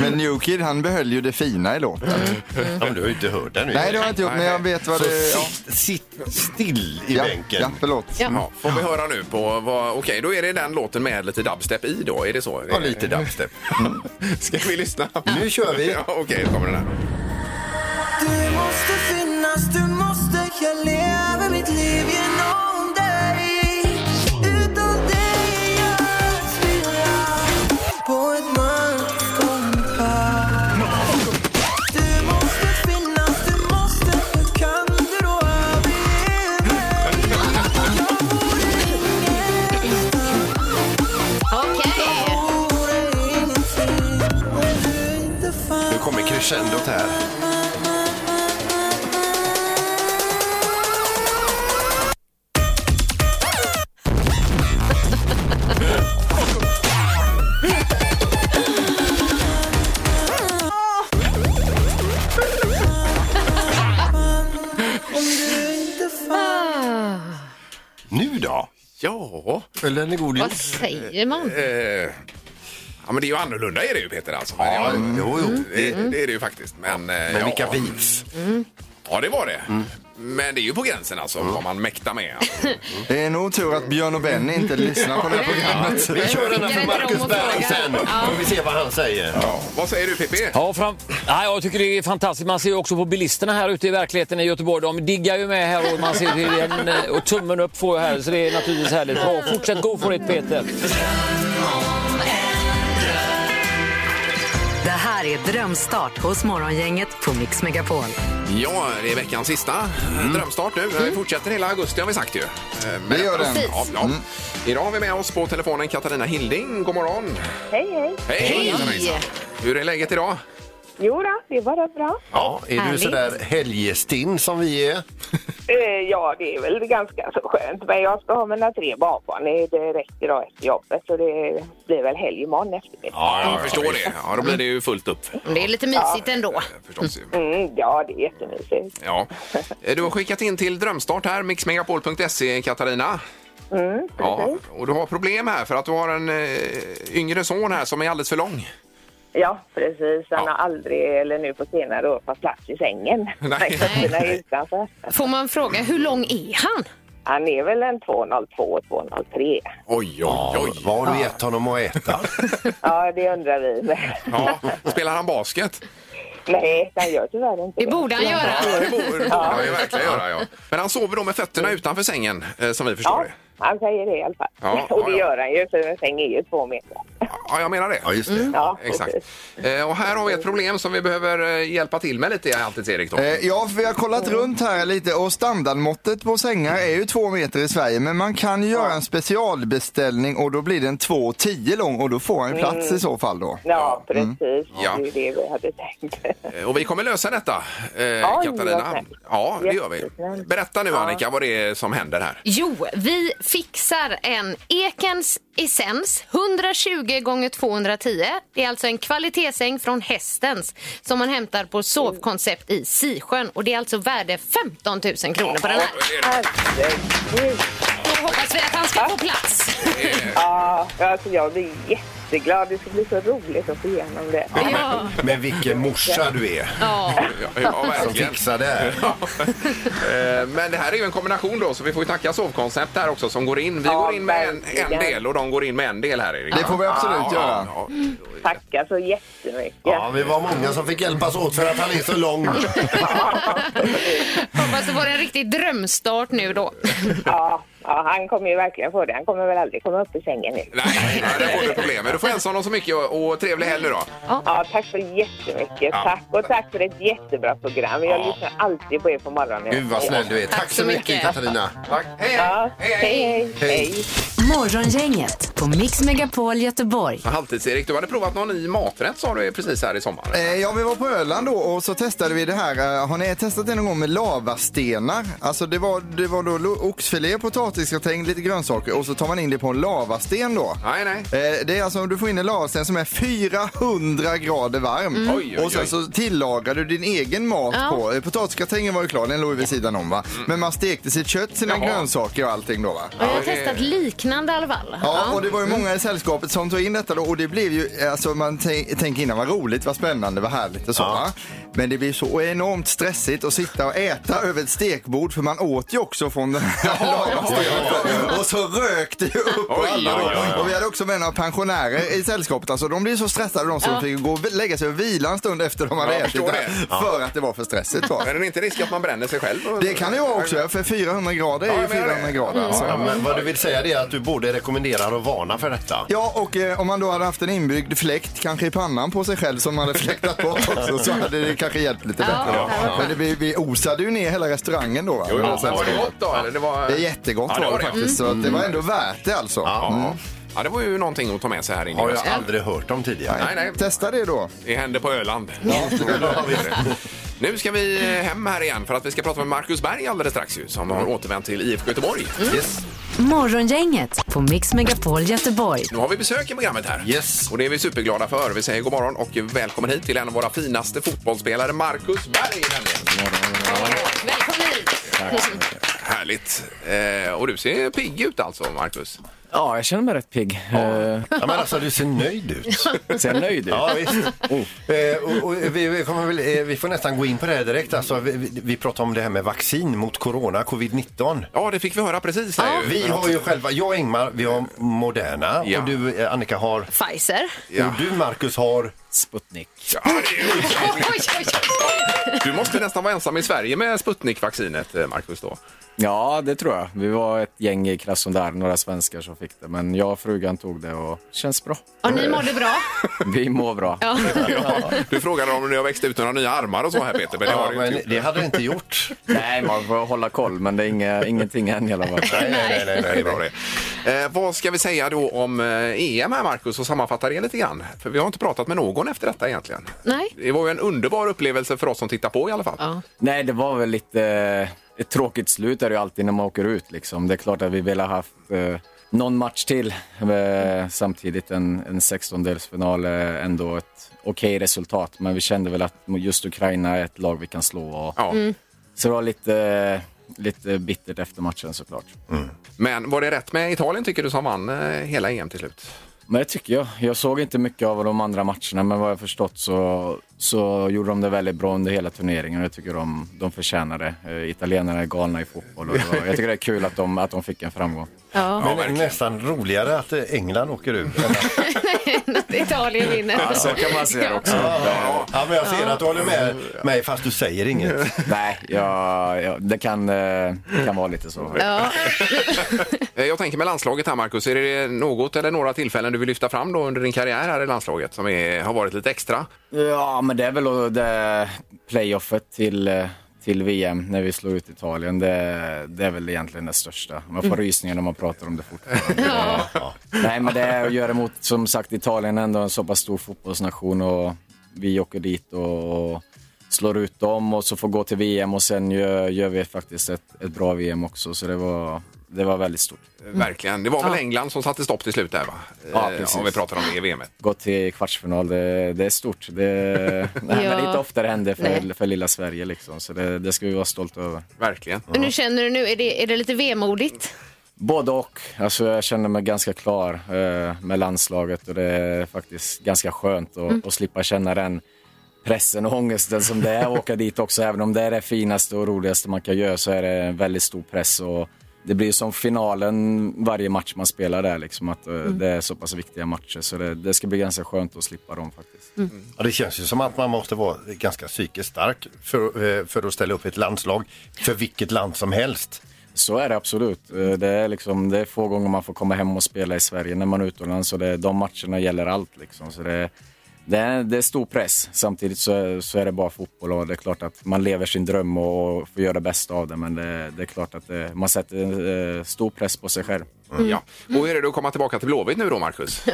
Speaker 7: Men New Kid han behöll ju det fina i låten.
Speaker 5: Ja, men du har ju inte hört den nu.
Speaker 7: Nej det har jag inte gjort men jag vet vad
Speaker 5: Så
Speaker 7: det... Ja,
Speaker 5: sitt, sitt still i
Speaker 7: ja,
Speaker 5: bänken.
Speaker 7: ja förlåt.
Speaker 4: Ja, får vi höra nu på vad... Okej, då är det den låten med lite dubstep i då, är det så? Mm.
Speaker 5: Ja, lite dubstep.
Speaker 4: Ska vi lyssna?
Speaker 5: Nu kör vi.
Speaker 4: Ja, Okej, då kommer den här.
Speaker 9: Du måste finnas, du måste Jag lever mitt liv genom dig Utan dig jag svirrar på ett mörkt kompass Du måste finnas, du måste Hur kan du då överge mig? Jag vore ingenstans,
Speaker 6: Okej.
Speaker 9: vore ingenting Om du inte fanns
Speaker 5: Nu kommer crescendot här. Nu då?
Speaker 4: Ja,
Speaker 5: Höll den i god jord?
Speaker 6: Vad säger man?
Speaker 4: eh, ja, men det är ju annorlunda är det ju Peter alltså. Men
Speaker 5: Ja,
Speaker 4: jag-
Speaker 5: jo, jo.
Speaker 4: Det, det är det ju faktiskt. Men, eh,
Speaker 5: Men
Speaker 4: ja.
Speaker 5: vilka beats.
Speaker 4: Ja, det var det. Men det är ju på gränsen alltså, vad man mäktar med. Alltså.
Speaker 7: Det är nog tur att Björn och Benny inte lyssnar på det här programmet.
Speaker 5: Vi kör den här
Speaker 6: Skickar
Speaker 5: för
Speaker 6: inte dem
Speaker 5: Marcus
Speaker 6: och frågar.
Speaker 5: Berg sen.
Speaker 6: Ja.
Speaker 5: Får vi se vad han säger.
Speaker 4: Ja. Vad säger du Pippi?
Speaker 11: Ja, fram... Nej, jag tycker det är fantastiskt. Man ser ju också på bilisterna här ute i verkligheten i Göteborg. De diggar ju med här och man ser ju en, eh, och tummen upp får jag här. Så det är naturligtvis härligt. Bra, fortsätt gå för det Peter.
Speaker 3: Det här är Drömstart hos Morgongänget på Mix Megapol.
Speaker 4: Ja, det är veckans sista drömstart nu. Vi fortsätter hela augusti har vi sagt ju. Eh, men-
Speaker 7: Det gör den.
Speaker 6: Precis.
Speaker 4: Ja, ja. Idag har vi med oss på telefonen Katarina Hilding. God morgon!
Speaker 8: Hej, hej.
Speaker 4: Hej! hejsan, hejsan. Hur är läget idag?
Speaker 8: Jo då, det var rätt bra.
Speaker 5: Ja, är du
Speaker 6: Härligt.
Speaker 5: sådär helgestinn som vi är?
Speaker 8: Eh, ja, det är väl ganska så skönt. Men jag ska ha mina tre barnbarn. Det det räcker då efter jobbet. Så det blir väl helg imorgon eftermiddag.
Speaker 4: Ja, Mm. jag förstår det. Ja, då blir det ju fullt upp
Speaker 6: Det är lite mysigt ändå.
Speaker 4: förstås. ju.
Speaker 8: Mm, ja, det är jättemysigt.
Speaker 4: Ja. Eh, Du har skickat in till drömstart här, mixmegapol.se Katarina.
Speaker 8: Mm,
Speaker 4: ja, och du har problem här för att du har en eh, yngre son här som är alldeles för lång.
Speaker 8: Ja, precis. Han
Speaker 4: Ja.
Speaker 8: har aldrig, eller nu på senare år, fått plats i sängen.
Speaker 4: Nej.
Speaker 8: Nej. Han är utanför.
Speaker 6: Får man fråga, hur lång är han?
Speaker 8: Han är väl en 202, 203.
Speaker 4: Oj, oj, oj!
Speaker 5: Vad har du gett honom att äta?
Speaker 8: Ja, det undrar vi.
Speaker 4: Ja, spelar han basket?
Speaker 8: Nej, han gör tyvärr inte
Speaker 6: Det borde han göra.
Speaker 4: Ja, det borde det borde han ju verkligen göra. Ja. Men han sover då med fötterna utanför sängen, eh, som vi förstår
Speaker 8: Mm. Ja, han
Speaker 4: det.
Speaker 8: säger det i alla fall.
Speaker 4: Ja,
Speaker 8: och det
Speaker 4: ja, ja.
Speaker 8: gör han ju, för en säng är ju två meter.
Speaker 4: Ja, jag menar det.
Speaker 5: Ja, just det.
Speaker 8: Mm. Ja,
Speaker 4: Exakt.
Speaker 8: precis.
Speaker 4: Eh, Och här har vi ett problem som vi behöver eh, hjälpa till med lite, alltid Erik. Då.
Speaker 7: Eh, Ja, för vi har kollat runt här lite och standardmåttet på sängar är ju två meter i Sverige. Men man kan ju göra en specialbeställning och då blir den 2,10 lång och då får han plats i så fall då.
Speaker 8: Ja, precis.
Speaker 4: Ja.
Speaker 8: Det är det vi hade tänkt.
Speaker 4: Eh, Och vi kommer lösa detta, eh,
Speaker 8: vad
Speaker 4: Katarina.
Speaker 8: snällt.
Speaker 4: Ja, det gör vi.
Speaker 8: Jättesnällt.
Speaker 4: Berätta nu, Annika, vad det är som händer här.
Speaker 6: Jo, vi fixar en Ekens Essens 120 gånger 210. Det är alltså en kvalitetsäng från Hästens som man hämtar på Sovkoncept i Sisjön. Och det är alltså värde 15 000 kronor på den här.
Speaker 8: Herregud.
Speaker 6: Då hoppas vi att han ska få plats.
Speaker 8: Ja, alltså jag blir jätteglad. Det ska bli så roligt att få igenom det.
Speaker 6: Ja.
Speaker 5: Men vilken morsa du är
Speaker 6: Ja.
Speaker 4: Ja, ja,
Speaker 5: som
Speaker 4: verkligen.
Speaker 5: fixar det här.
Speaker 4: Ja. Eh, Men det här är ju en kombination då, så vi får ju tacka Sovkoncept här också som går in. Vi
Speaker 8: Ja,
Speaker 4: går in med en, en
Speaker 8: verkligen.
Speaker 4: del och de går in med en del här, Erik.
Speaker 7: Det får vi absolut
Speaker 4: Ja,
Speaker 7: göra.
Speaker 4: ja,
Speaker 8: Tackar så jättemycket.
Speaker 5: Ja, vi var många som fick hjälpas åt för att han är så lång.
Speaker 6: Hoppas det får en riktig drömstart nu då.
Speaker 8: Ja, ja, han kommer ju verkligen få det. Han kommer väl aldrig komma upp i sängen nu.
Speaker 4: Nej, nej, där får du problem. Men du får hälsa honom så mycket och, och trevlig helg nu då.
Speaker 8: Ja, tack så jättemycket.
Speaker 4: Ja.
Speaker 8: Tack och tack för ett jättebra program. Jag lyssnar alltid på er på morgonen.
Speaker 5: Gud vad snäll du är. Tack så mycket Katarina.
Speaker 4: Tack. Hej, hej.
Speaker 8: Ja,
Speaker 4: hej, hej.
Speaker 8: hej. hej. hej.
Speaker 3: Morgongänget på Mix Megapol Göteborg.
Speaker 4: Halvtids-Erik, du hade provat någon ny maträtt sa du precis här i sommar.
Speaker 7: Eh, Ja, vi var på Öland då och så testade vi det här. eh, Har ni testat det någon gång med lavastenar? Alltså det var, det var då lo- oxfilé, potatisgratäng, lite grönsaker och så tar man in det på en lavasten då.
Speaker 4: Nej, nej.
Speaker 7: Eh, Det är alltså om du får in en lavasten som är 400 grader varm.
Speaker 4: Mm. Oj, oj,
Speaker 7: Och sen
Speaker 4: oj.
Speaker 7: så tillagar du din egen mat
Speaker 6: Ja.
Speaker 7: på. Eh, Potatisgratängen var ju klar, den låg ju vid sidan om va. Men man stekte sitt kött, sina
Speaker 4: Mm. Jaha.
Speaker 7: grönsaker och allting då va.
Speaker 6: Och jag har testat liknande i alla fall.
Speaker 7: Ja, och det var ju
Speaker 4: Mm.
Speaker 7: många i sällskapet som tog in detta då och det blev ju, alltså man tän- tänker innan vad roligt, vad spännande, vad härligt och så va. Men det blir så enormt stressigt att sitta och äta över ett stekbord för man åt ju också från den här lavastenen. Och så rökte ju upp
Speaker 4: Oj,
Speaker 7: och alla
Speaker 4: oj, oj, oj.
Speaker 7: då. Och vi hade också med några pensionärer i sällskapet alltså de blev ju så stressade de som
Speaker 6: Ja.
Speaker 7: fick gå och lägga sig och vila en stund efter de hade
Speaker 4: Jag
Speaker 7: ätit
Speaker 4: förstår
Speaker 7: det här,
Speaker 4: det.
Speaker 7: för att det var för stressigt va.
Speaker 4: Men är det inte risk att man bränner sig själv?
Speaker 7: Det kan det vara också, för 400 grader
Speaker 4: Ja,
Speaker 7: är ju
Speaker 4: jag menar det.
Speaker 7: 400 grader alltså.
Speaker 5: Ja, men vad du vill säga det är att du både rekommenderar och varnar för detta.
Speaker 7: Ja, och eh, om man då hade haft en inbyggd fläkt, kanske i pannan på sig själv som man hade fläktat bort också, så hade det kanske hjälpt lite
Speaker 6: Ja,
Speaker 7: bättre.
Speaker 6: ja, ja.
Speaker 7: Men det, vi, vi osade ju ner hela restaurangen då. va?
Speaker 4: Jo,
Speaker 7: Men
Speaker 4: jo,
Speaker 7: sen-
Speaker 4: var det gott då? Eller det, var...
Speaker 7: det är jättegott
Speaker 4: Ja, det
Speaker 7: var
Speaker 4: var
Speaker 7: det
Speaker 4: det.
Speaker 7: faktiskt, så att det var ändå värt det alltså.
Speaker 4: Ja. ja, det var ju någonting att ta med sig här inne.
Speaker 5: Har
Speaker 4: i
Speaker 5: jag
Speaker 4: hösten.
Speaker 5: aldrig hört om tidigare.
Speaker 4: Nej, nej.
Speaker 7: Testa det då.
Speaker 4: Det hände på Öland. Nu ska vi eh, hem här igen för att vi ska prata med Marcus Berg alldeles strax ju, som har återvänt till IFK Göteborg.
Speaker 5: Mm. Yes.
Speaker 3: Morgongänget på Mix Megapol Göteborg.
Speaker 4: Nu har vi besök i programmet här.
Speaker 5: Yes.
Speaker 4: Och det är vi superglada för. Vi säger god morgon och välkommen hit till en av våra finaste fotbollsspelare, Marcus Berg. nämligen.
Speaker 6: Välkommen hit!
Speaker 4: Härligt. Eh, och du ser pigg ut alltså, Marcus.
Speaker 12: Ja, jag känner mig rätt pigg. Eh,
Speaker 5: Ja, men alltså du ser nöjd ut.
Speaker 12: ser nöjd ut.
Speaker 5: Ja, visst.
Speaker 4: Mm.
Speaker 5: Eh, och, och vi, vi, kommer väl, eh, vi får nästan gå in på det här direkt. Alltså, vi, vi- vi pratar om det här med vaccin mot corona, covid-19.
Speaker 4: Ja, det fick vi höra precis här ju.
Speaker 5: Vi har ju själva, jag och Ingmar, vi har Moderna
Speaker 4: Ja.
Speaker 5: och du eh, Annika har,
Speaker 6: Pfizer.
Speaker 4: Ja.
Speaker 5: och du Marcus har
Speaker 12: Sputnik.
Speaker 4: Ja, det är ju-
Speaker 6: Oj, oj, oj.
Speaker 4: Du måste nästan vara ensam i Sverige med Sputnik-vaccinet, eh, Marcus. Då.
Speaker 12: Ja, det tror jag. Vi var ett gäng i Krasnodar, några svenskar som fick det. Men jag och frugan tog det och känns bra.
Speaker 6: Och ni mådde bra?
Speaker 12: Vi mår bra.
Speaker 6: Ja.
Speaker 4: Ja. Du frågade om du har växt ut några nya armar och så här, Peter. Men det har
Speaker 5: Ja,
Speaker 4: du inte
Speaker 5: men
Speaker 4: gjort.
Speaker 5: det hade det inte gjort.
Speaker 12: Nej, man får hålla koll, men det är inga, ingenting än i alla fall.
Speaker 5: Nej, nej, nej.
Speaker 4: Nej, det är bra det. Eh, vad ska vi säga då om eh, EM här Marcus och sammanfatta det lite grann? För vi har inte pratat med någon efter detta egentligen.
Speaker 6: Nej.
Speaker 4: Det var ju en underbar upplevelse för oss som tittar på i alla fall.
Speaker 6: Ja.
Speaker 12: Nej, det var väl lite... eh, Ett tråkigt slut är det ju alltid när man åker ut. Liksom. Det är klart att vi vill ha haft eh, någon match till. Eh, samtidigt en, en 16-delsfinal eh, ändå ett okej resultat. Men vi kände väl att just Ukraina är ett lag vi kan slå. Och,
Speaker 4: Ja.
Speaker 12: Mm. Så det var lite, lite bittert efter matchen såklart.
Speaker 4: Mm. Men var det rätt med Italien tycker du som vann eh, hela EM till slut?
Speaker 12: Men det tycker jag. Jag såg inte mycket av de andra matcherna, men vad jag förstått så, så gjorde de det väldigt bra under hela turneringen och jag tycker de, de förtjänar det. Eh, Italienarna är galna i fotboll och det var, jag tycker det är kul att de, att de fick en framgång.
Speaker 6: Ja.
Speaker 5: Men nästan roligare att eh, England åker ur.
Speaker 6: Italien vinner.
Speaker 12: Ja, så kan man se det också.
Speaker 5: Ja, men jag ser att du håller med mig fast du säger inget.
Speaker 12: Nej, jag, jag, det kan, eh, kan vara lite så.
Speaker 6: Ja.
Speaker 4: Eh, jag tänker med landslaget här Marcus, är det något eller några tillfällen du vill lyfta fram då under din karriär här i landslaget som är, har varit lite extra?
Speaker 12: Ja, men det är väl eh, det playoffet till, eh, till VM när vi slog ut Italien. Det, det är väl egentligen det största. Man får rysningar när man pratar om det fortfarande. Det- Nej, men det är att göra mot, som sagt, Italien är ändå en så pass stor fotbollsnation och vi åker dit och, och slår ut dem och så får gå till VM och sen gör, gör vi faktiskt ett, ett bra VM också. Så det var, det var väldigt stort.
Speaker 4: Eh, Verkligen. Det var väl England som satte stopp till slut där va? Eh,
Speaker 12: Mm. Ja, precis.
Speaker 4: Om vi pratar om det i VM.
Speaker 12: Gå till kvartsfinal, det, det är stort. Det, det händer
Speaker 6: Ja.
Speaker 12: inte ofta det händer för,
Speaker 6: Nej.
Speaker 12: för lilla Sverige liksom. Så det, det ska vi vara stolta över.
Speaker 4: Verkligen.
Speaker 6: Men hur känner du nu? Är det, är det lite vemodigt?
Speaker 12: Både och. Alltså jag känner mig ganska klar eh, med landslaget och det är faktiskt ganska skönt att, att slippa känna den pressen och ångesten som det är att åka dit också. Även om det är det finaste och roligaste man kan göra så är det en väldigt stor press. Och det blir som finalen varje match man spelar där, liksom, att eh, det är så pass viktiga matcher. Så det, det ska bli ganska skönt att slippa dem faktiskt.
Speaker 5: Ja, det känns ju som att man måste vara ganska psykiskt stark för, eh, för att ställa upp i ett landslag för vilket land som helst.
Speaker 12: Så är det absolut. Eh, Det är, liksom, det är få gånger man får komma hem och spela i Sverige när man är utomlands. Så det, de matcherna gäller allt. Liksom. Så det, Det är, det är stor press. Samtidigt så, är- så är det bara fotboll och det är klart att man lever sin dröm och får göra det bästa av det. Men det, det är klart att eh, man sätter eh, stor press på sig själv.
Speaker 4: Mm. Ja. Och hur är det att komma tillbaka till Blåvitt nu då, Marcus?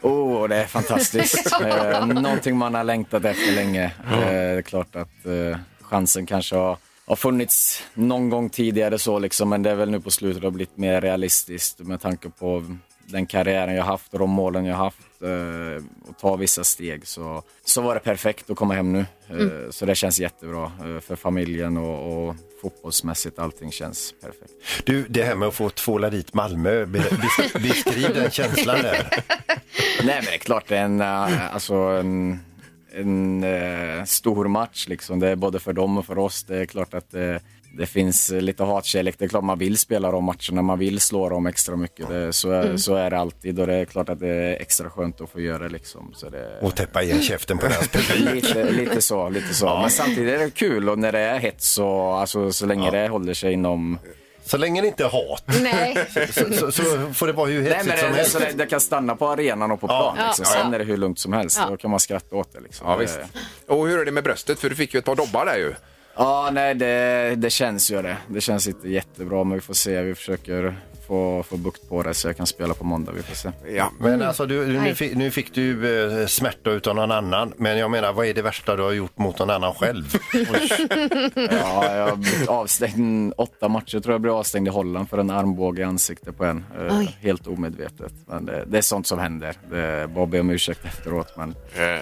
Speaker 12: Oh, det är fantastiskt. eh, någonting man har längtat efter länge. Eh, det är klart att eh, chansen kanske har, har funnits någon gång tidigare så liksom, men det är väl nu på slutet har blivit mer realistiskt med tanke på den karriären jag haft och de målen jag haft eh, och ta vissa steg så, så var det perfekt att komma hem nu. Eh,
Speaker 13: Mm.
Speaker 12: Så det känns jättebra eh, för familjen och, och fotbollsmässigt allting känns perfekt.
Speaker 5: Du, det här med att få tvåla dit Malmö, be- bes- beskriv den känslan där.
Speaker 12: Nej men det är klart det är en, eh, alltså, en, en eh, stor match liksom. Det är både för dem och för oss. Det är klart att det, det finns eh, lite hatkärlek. Det är klart man vill spela de matcherna, man vill slå dem extra mycket. Det, så, är-
Speaker 5: Mm.
Speaker 12: så är det alltid och det är klart att det är extra skönt att få göra det liksom. Så det,
Speaker 5: Och täppa igen käften på deras publik.
Speaker 12: lite, lite så, lite så. Men samtidigt är det kul och när det är hets och alltså, så länge det håller sig inom...
Speaker 5: Så länge det inte är hat.
Speaker 6: Nej.
Speaker 5: Så, så, så får det vara hur
Speaker 12: Nej,
Speaker 5: hetsigt
Speaker 12: men
Speaker 5: som
Speaker 12: det,
Speaker 5: helst.
Speaker 12: så det, det kan stanna på arenan och på
Speaker 5: Ja.
Speaker 12: plan. Liksom.
Speaker 5: Ja, ja.
Speaker 12: Sen är det hur lugnt som helst.
Speaker 5: Ja.
Speaker 12: Då kan man skratta åt det. Liksom.
Speaker 4: Ja, visst. Och hur är det med bröstet? För du fick ju ett par dobbar där ju.
Speaker 12: Ja, nej, det, det känns ju det. Det känns inte jättebra, men vi får se. Vi försöker få, få bukt på det så jag kan spela på måndag. Vi får se.
Speaker 4: Ja.
Speaker 5: Men alltså, du, du, nu,
Speaker 12: Nej.
Speaker 5: fick, nu fick du eh, smärta utav någon annan. Men jag menar, vad är det värsta du har gjort mot någon annan själv?
Speaker 12: Ja, jag har blivit avstängd åtta matcher. Jag tror jag blev avstängd i Holland för en armbåge i ansiktet på en. Eh,
Speaker 5: Oj.
Speaker 12: Helt omedvetet. Men det, det är sånt som händer. Det är bara att be om ursäkt efteråt. Men...
Speaker 5: ja.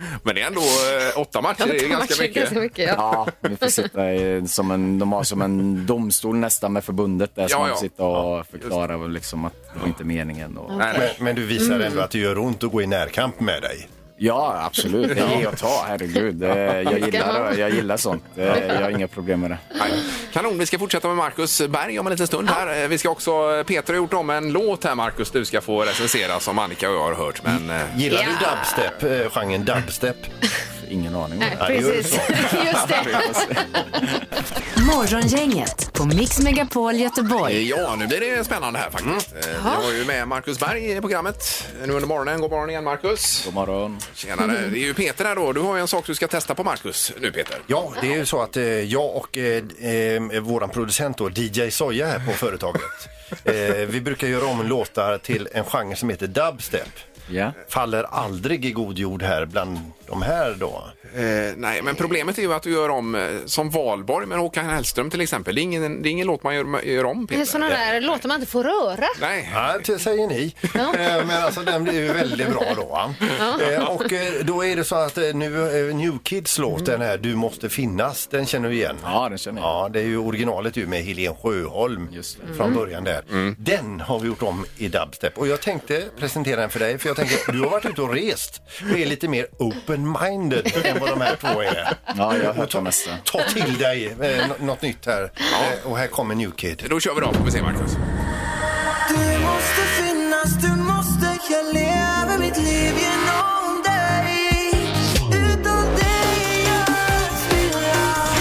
Speaker 4: Eh, men det är ändå eh, åtta matcher. Det är ju ganska mycket.
Speaker 12: ja. vi får sitta i, som en, de har som en domstol nästan med förbundet där. som
Speaker 5: Ja,
Speaker 12: man
Speaker 5: ja.
Speaker 12: får sitta och förklara liksom att det var inte meningen. Och...
Speaker 5: Men, men du visar
Speaker 12: Mm.
Speaker 5: ändå att det gör ont att gå i närkamp med dig.
Speaker 12: Ja, absolut. Det är ge och ta, herregud. Det- Jag gillar, jag gillar sånt. Det- Jag har inga problem med det.
Speaker 4: Nej. Kanon, vi ska fortsätta med Marcus Berg om en liten stund här. Eh, Vi ska också, Peter har gjort om en låt här Marcus, du ska få recensera som Annika och jag har hört. Men, eh,
Speaker 5: Gillar du dubstep, eh, genren dubstep?
Speaker 12: Ingen aning.
Speaker 4: Nej,
Speaker 5: det gör du
Speaker 4: precis.
Speaker 5: så.
Speaker 6: Just
Speaker 4: det.
Speaker 3: Morgongänget på Mix Megapol Göteborg.
Speaker 4: Ja, nu blir det spännande här faktiskt.
Speaker 6: Mm.
Speaker 4: Eh, Vi har ju med Marcus Berg i programmet nu under morgonen. God morgon igen Marcus. God
Speaker 12: morgon.
Speaker 4: Tjenare. Det är ju Peter här då. Du har ju en sak du ska testa på Marcus nu Peter.
Speaker 5: Ja, det är ju så att eh, jag och eh, eh, våran producent då, DJ Soja här på företaget. eh, vi brukar göra om låtar till en genre som heter dubstep.
Speaker 12: Ja.
Speaker 5: Faller aldrig i god jord här bland de här då.
Speaker 4: Eh, nej, men problemet är ju att du gör om eh, som Valborg med Håkan Hellström till exempel. Det är ingen, det är ingen låt man gör, gör om
Speaker 6: Det är
Speaker 4: Peter.
Speaker 6: sådana där låter man inte får röra.
Speaker 4: Nej.
Speaker 5: Ja, det säger ni. Eh, Men alltså den blir ju väldigt bra då. va?
Speaker 6: Ja.
Speaker 5: Eh, Och eh, då är det så att eh, nu eh, New Kids låt, den här Du måste finnas, den känner du igen?
Speaker 12: Ja, den känner
Speaker 5: jag. Ja, det är ju originalet ju med Helene Sjöholm från
Speaker 12: Mm.
Speaker 5: början där. Den har vi gjort om i dubstep och jag tänkte presentera den för dig för jag tänker du har varit ute och rest. Du är lite mer open-minded än vad de här två är.
Speaker 12: Ja, jag har hört
Speaker 5: Och ta,
Speaker 12: det mesta.
Speaker 5: ta till dig eh, nå- något nytt här Eh, och här kommer New Kid.
Speaker 4: Då kör vi då, får vi se Marcus.
Speaker 9: Du måste finnas, du måste, jag lever mitt liv genom dig Utan dig jag stirrar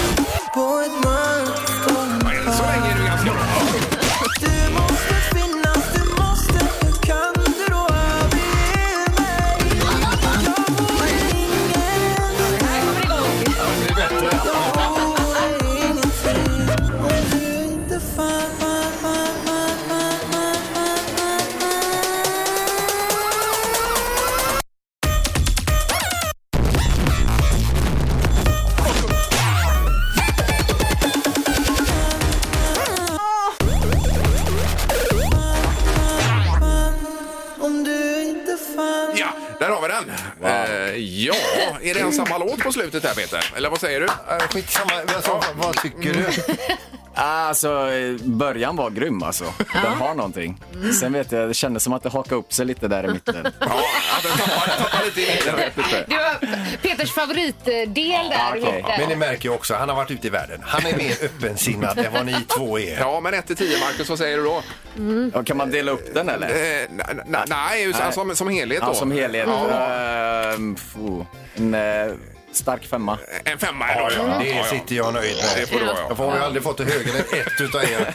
Speaker 9: på ett mörkt
Speaker 4: Än så länge är du ganska bra.
Speaker 9: Du måste finnas, du måste, hur kan du då överge mig? Jag får ingen Här kommer igång! Jag får ingenting om du inte Om du inte fann
Speaker 4: Ja, där har vi den. Eh, ja, är det en samma låt på slutet här Peter? Eller vad säger du?
Speaker 5: Eh, Skitsamma, alltså, vad tycker du?
Speaker 12: Alltså, eh, början var grym alltså. Den har någonting. Sen vet jag, det kändes som att det hakade upp sig lite där i mitten.
Speaker 6: Det var Peters favoritdel där. lite.
Speaker 5: Men ni märker ju också, han har varit ute i världen. Han är mer öppensinnad än vad ni två är.
Speaker 4: Ja, men 1 till 10 Marcus, vad säger du då?
Speaker 12: Ja, Kan man dela upp den eller?
Speaker 4: Eh, na- na- nej, just- som- som helhet
Speaker 12: Ja,
Speaker 4: då.
Speaker 12: som helhet.
Speaker 4: Ja.
Speaker 12: Ehm, fo. en, eh, Stark femma.
Speaker 4: En femma idag,
Speaker 12: Ja, ja.
Speaker 5: Det sitter jag nöjd med.
Speaker 4: Mm. Det får du vara, ja.
Speaker 5: Jag har ju aldrig fått det högre än ett utav er.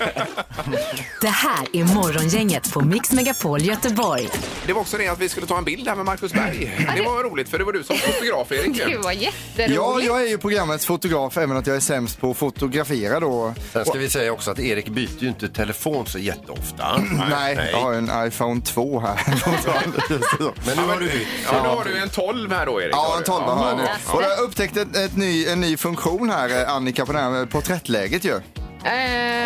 Speaker 3: Det här är Morgongänget på Mix Megapol Göteborg.
Speaker 4: Det var också det att vi skulle ta en bild här med Marcus Berg. Det var roligt för det var du som fotograf Erik.
Speaker 6: Gud vad
Speaker 7: Ja,
Speaker 6: jätteroligt.
Speaker 7: jag är ju programmets fotograf även att jag är sämst på att fotografera då.
Speaker 5: Sen ska vi säga också att Erik byter ju inte telefon så jätteofta.
Speaker 7: Nej, jag har en iPhone 2 här.
Speaker 5: Men nu har du bytt.
Speaker 4: Ja, men då har du en 12 här då Erik.
Speaker 7: Ja,
Speaker 4: har
Speaker 7: en
Speaker 4: du.
Speaker 7: 12 har jag nu.
Speaker 4: Ja.
Speaker 7: Och jag upptäckte ett, ett ny, en ny funktion här, eh, Annika, på det här porträttläget ju.
Speaker 6: Eh,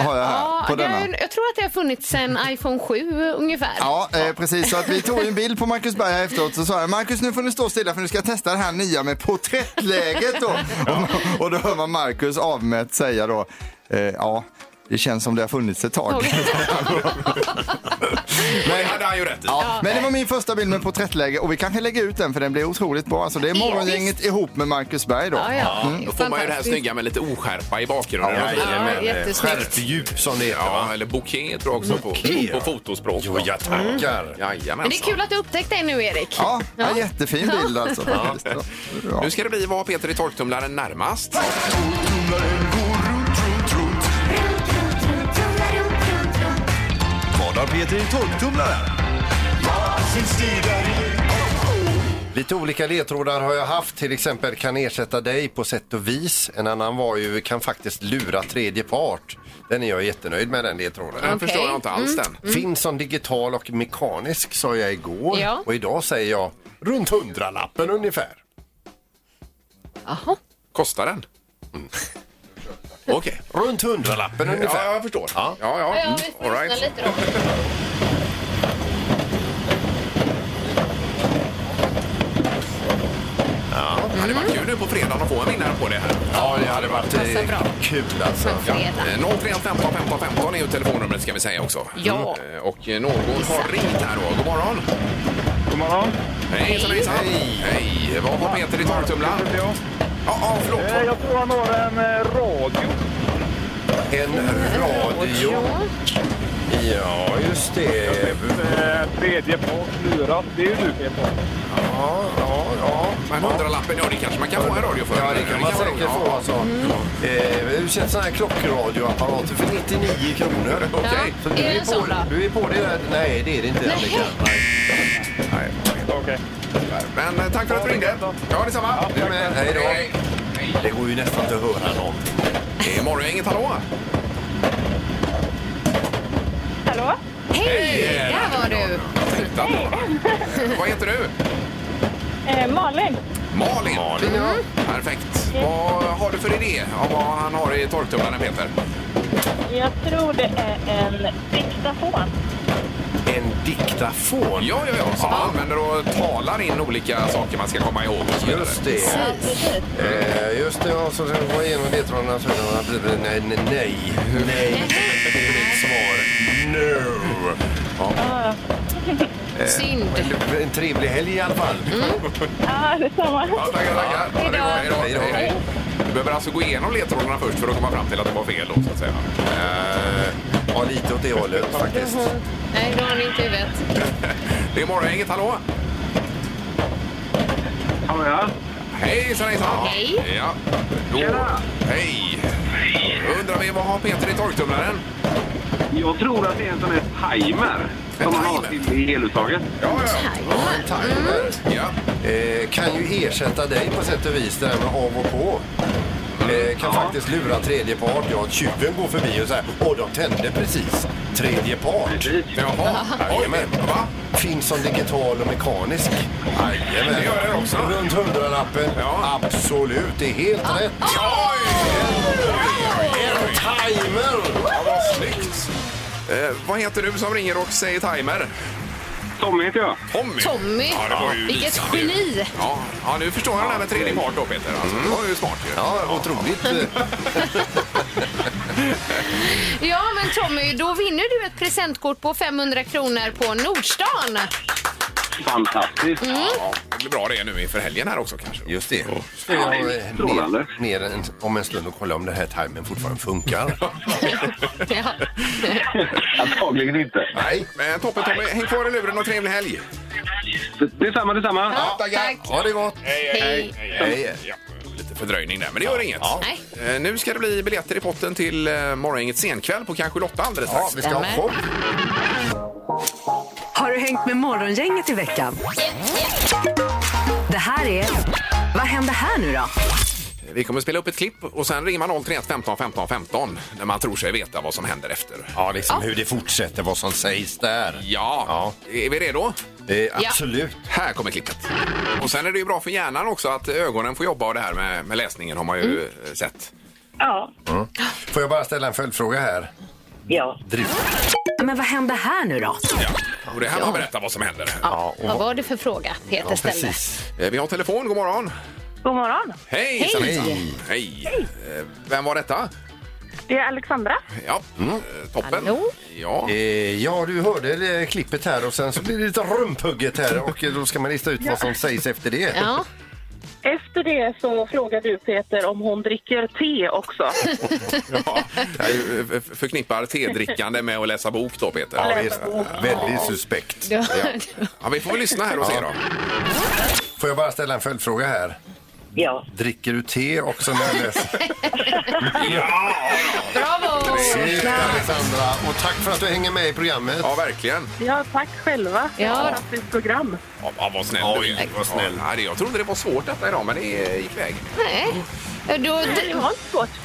Speaker 7: Har jag här,
Speaker 6: ja,
Speaker 7: på
Speaker 6: det har
Speaker 7: denna.
Speaker 6: ju- Jag tror att det har funnits sedan iPhone 7 ungefär.
Speaker 7: Ja, eh, precis. Så att vi tog ju en bild på Marcus Berg här efteråt så sa jag Marcus nu får du stå stilla för nu ska jag testa det här nya med porträttläget då. Och, och då hör man Marcus avmätt säga då, eh, ja det känns som det har funnits ett tag.
Speaker 4: Men det hade han ju rätt i.
Speaker 7: Ja, men det var min första bild med porträttläge och vi kanske lägger ut den för den blir otroligt bra. Alltså det är morgongänget ihop med Marcus Berg då.
Speaker 6: Ja, ja.
Speaker 4: Ja, Då får man ju det här
Speaker 6: Fantastiskt.
Speaker 4: snygga med lite oskärpa i bakgrunden.
Speaker 5: Ja, jajamän.
Speaker 6: Ja, jättesnyggt.
Speaker 5: Skärpdjup som det heter
Speaker 4: Ja,
Speaker 5: va?
Speaker 4: eller bouquet tror jag också på,
Speaker 5: Bouquet, ja.
Speaker 4: på fotospråk. Mm.
Speaker 5: Jo, jag tackar.
Speaker 6: Men det är
Speaker 4: Jajamensan.
Speaker 6: kul att du upptäckte det nu, Erik.
Speaker 7: Ja, ja, jättefin bild alltså. faktiskt. Ja. Bra.
Speaker 4: Nu ska det bli vad Peter i torktumlaren närmast. Eh,
Speaker 9: Vad har Peter i torktumlaren?
Speaker 5: Lite olika ledtrådar har jag haft, till exempel kan ersätta dig på sätt och vis. En annan var ju kan faktiskt lura tredje part. Den är jag jättenöjd med den ledtråden.
Speaker 4: Den förstår jag inte
Speaker 6: Mm.
Speaker 4: alls den.
Speaker 5: Finns som digital och mekanisk sa jag igår
Speaker 6: Ja.
Speaker 5: och idag säger jag runt hundralappen ungefär.
Speaker 6: Jaha.
Speaker 4: Kostar den? Mm. Okej.
Speaker 5: Runt
Speaker 4: Mm.
Speaker 5: hundralappen ungefär.
Speaker 4: Ja, jag förstår. Ja, ja.
Speaker 6: Ja,
Speaker 4: Mm.
Speaker 6: vi får
Speaker 4: All right.
Speaker 6: lyssna lite då.
Speaker 4: Det hade varit kul nu på fredagen att få en vinnare på det här.
Speaker 5: Ja, det hade varit
Speaker 6: Passar
Speaker 5: eh,
Speaker 6: bra.
Speaker 5: kul alltså.
Speaker 6: Som
Speaker 5: Ja.
Speaker 6: fredag.
Speaker 4: Eh, 031 15 15 15 är ju telefonnumret ska vi säga också.
Speaker 6: Ja.
Speaker 4: Mm. Eh, Och eh, någon har ringt här då. God morgon.
Speaker 13: God morgon.
Speaker 4: Hej, hejsan, hejsan. Hej. Hej. Vad har Peter i torktumlaren? Ja, ja, förlåt.
Speaker 13: Eh, Jag tror han har en eh, radio.
Speaker 5: En radio. Ja, just det.
Speaker 13: Eh, Tredje part luras. Det är ju du Peter.
Speaker 5: Ja, ja, ja.
Speaker 4: Men hundralappen, ja det kanske man kan få en radio för.
Speaker 5: Ja, det kan man
Speaker 4: vara
Speaker 5: säkert
Speaker 4: roligt.
Speaker 5: få alltså. Eh, hur känns sådana här klockradioapparater för 99 kronor?
Speaker 4: Okej.
Speaker 5: Så
Speaker 6: Är det en sån då?
Speaker 5: på, du är på det där? Nej, det är det inte Annika. Nej.
Speaker 4: Nej.
Speaker 13: Okej.
Speaker 4: Men eh, tack för att du ringde. Ja, detsamma.
Speaker 5: Du är med. Hej då. Det går ju nästan inte att höra någon.
Speaker 4: Det är Morgongänget, hallå!
Speaker 2: Hallå?
Speaker 6: Hej,
Speaker 4: Hej.
Speaker 6: där var du.
Speaker 4: Titta på. Vad heter du?
Speaker 2: Eh, Malin?
Speaker 4: Malin. Malin ja. Perfekt. Vad har du för idé om vad han har i torktumlaren, Peter?
Speaker 2: Jag tror det är en diktafon.
Speaker 5: En diktafon.
Speaker 4: Ja, ja, ja. Som man använder och talar in olika saker man ska komma ihåg och så vidare.
Speaker 5: Just det.
Speaker 2: Ja, precis.
Speaker 5: Eh, just det, ja. Så ska vi gå igenom ledtrådarna. så- Nej, nej, nej. Nej. Det är mitt svar. No.
Speaker 4: Eh,
Speaker 6: Synd.
Speaker 5: En trevlig helg i alla fall.
Speaker 4: Mm.
Speaker 2: Ja, detsamma.
Speaker 4: Ja, tackar, tackar. Ja, det är bra. Hej då. Hej, hej. Du behöver alltså gå igenom ledtrådarna först för att komma fram till att det var fel då, så att säga.
Speaker 5: Eh, ja, lite åt det hållet faktiskt.
Speaker 6: Nej, då har ni inte huvudet.
Speaker 4: Det är Morgongänget, hallå!
Speaker 13: Hallå ja.
Speaker 4: Hejsan, hejsan!
Speaker 6: Hej.
Speaker 4: Ja. Då. Hej! Undrar vi, vad har Peter i torktumlaren?
Speaker 13: Jag tror att det är en sån här timer. Som man har
Speaker 4: timer?
Speaker 13: till eluttaget.
Speaker 4: Ja, ja,
Speaker 5: Ja, en timer.
Speaker 4: ja. ja.
Speaker 5: Eh, kan ju ersätta dig på sätt och vis, det här med av och på. Eh, kan
Speaker 13: Ja.
Speaker 5: faktiskt lura tredje part. Ja, tjuven går förbi och säger åh, de tände precis. Tredje part.
Speaker 13: Precis.
Speaker 4: Jaha, jajamän. Va?
Speaker 5: Finns som digital och mekanisk. Jajamän.
Speaker 4: Det gör den också.
Speaker 5: Runt hundralappen.
Speaker 4: Ja. Ah,
Speaker 5: Absolut, det är helt rätt.
Speaker 4: Oj!
Speaker 5: En timer!
Speaker 4: Ja, vad snyggt! Eh, vad heter du som ringer och säger timer?
Speaker 13: Tommy heter jag.
Speaker 4: Tommy.
Speaker 6: Tommy,
Speaker 4: Ja, det var ju
Speaker 6: vilket
Speaker 4: lysande.
Speaker 6: geni!
Speaker 4: Ja, ja, nu förstår jag den här med tredje part då, Peter. Alltså, Det var ju smart ju.
Speaker 5: Ja, otroligt. Eh,
Speaker 6: Ja, men Tommy, då vinner du ett presentkort på 500 kronor på Nordstan.
Speaker 13: Fantastiskt.
Speaker 4: Ja, det blir bra det nu inför helgen här också kanske.
Speaker 5: Just det. Ska
Speaker 13: Ja,
Speaker 5: jag
Speaker 13: det är
Speaker 5: eh,
Speaker 13: strålande.
Speaker 5: ner, ner en, om en stund och kolla om den här timern fortfarande funkar?
Speaker 6: Ja.
Speaker 13: Antagligen inte.
Speaker 5: Nej.
Speaker 4: Men toppen Tommy, häng kvar i luren och trevlig helg!
Speaker 13: Detsamma, detsamma.
Speaker 6: Ja, tack.
Speaker 5: Ha det gott!
Speaker 6: Hej.
Speaker 5: Hej.
Speaker 4: Ja. fördröjning där, men det gör inget. Eh, Nu ska det bli biljetter i potten till eh, morgongänget senkväll på kanske Lotta alldeles strax.
Speaker 3: vi ska ha Stämmer. show. Har du hängt med Morgongänget i veckan? Det här är... Vad händer här nu då?
Speaker 4: Vi kommer spela upp ett klipp och sen ringer man 031 15 15 15 när man tror sig veta vad som händer efter.
Speaker 5: Ja, liksom hur det fortsätter, vad som sägs där.
Speaker 4: Ja, är vi redo?
Speaker 5: Eh, absolut.
Speaker 4: Här kommer klippet. Och sen är det ju bra för hjärnan också att ögonen får jobba och det här med, med läsningen har man ju eh, sett.
Speaker 2: Ja.
Speaker 5: Mm. Får jag bara ställa en följdfråga här?
Speaker 2: Ja.
Speaker 3: Men vad händer här nu då?
Speaker 4: Och det här man berättar vad som händer.
Speaker 6: Ja, Vad var det för fråga Peter ställde?
Speaker 4: Eh, Vi har telefon, god morgon.
Speaker 2: God morgon.
Speaker 4: Hej!
Speaker 2: Hej.
Speaker 4: Hejsan, hejsan. Hej! Eh, Vem var detta?
Speaker 2: Det är Alexandra.
Speaker 4: Ja, eh, toppen. Ja.
Speaker 5: Eh, ja, du hörde eh, klippet här och sen så blir det lite rumphugget här och eh, då ska man lista ut vad som sägs efter det.
Speaker 2: Efter det så frågar du Peter om hon dricker te också.
Speaker 4: Jag eh, f- förknippar tedrickande med att läsa bok då, Peter.
Speaker 2: Ja, visst.
Speaker 5: Väldigt suspekt.
Speaker 4: Ja. Ja, vi får väl lyssna här och se
Speaker 5: Ja.
Speaker 4: då.
Speaker 5: Får jag bara ställa en följdfråga här?
Speaker 2: Ja.
Speaker 5: Dricker du te också när du läser?
Speaker 6: Bravo!
Speaker 5: Snyggt, Alexandra! Och tack för att du hänger med i programmet.
Speaker 4: Ja, verkligen.
Speaker 2: Ja, tack själva.
Speaker 6: Ja.
Speaker 2: Fantastiskt program.
Speaker 4: Ja, ja, vad snäll du är. Vad snäll. Ja, det- jag trodde det var svårt detta idag, men det eh, gick väg.
Speaker 6: Nej. Eh, Då,
Speaker 2: Mm.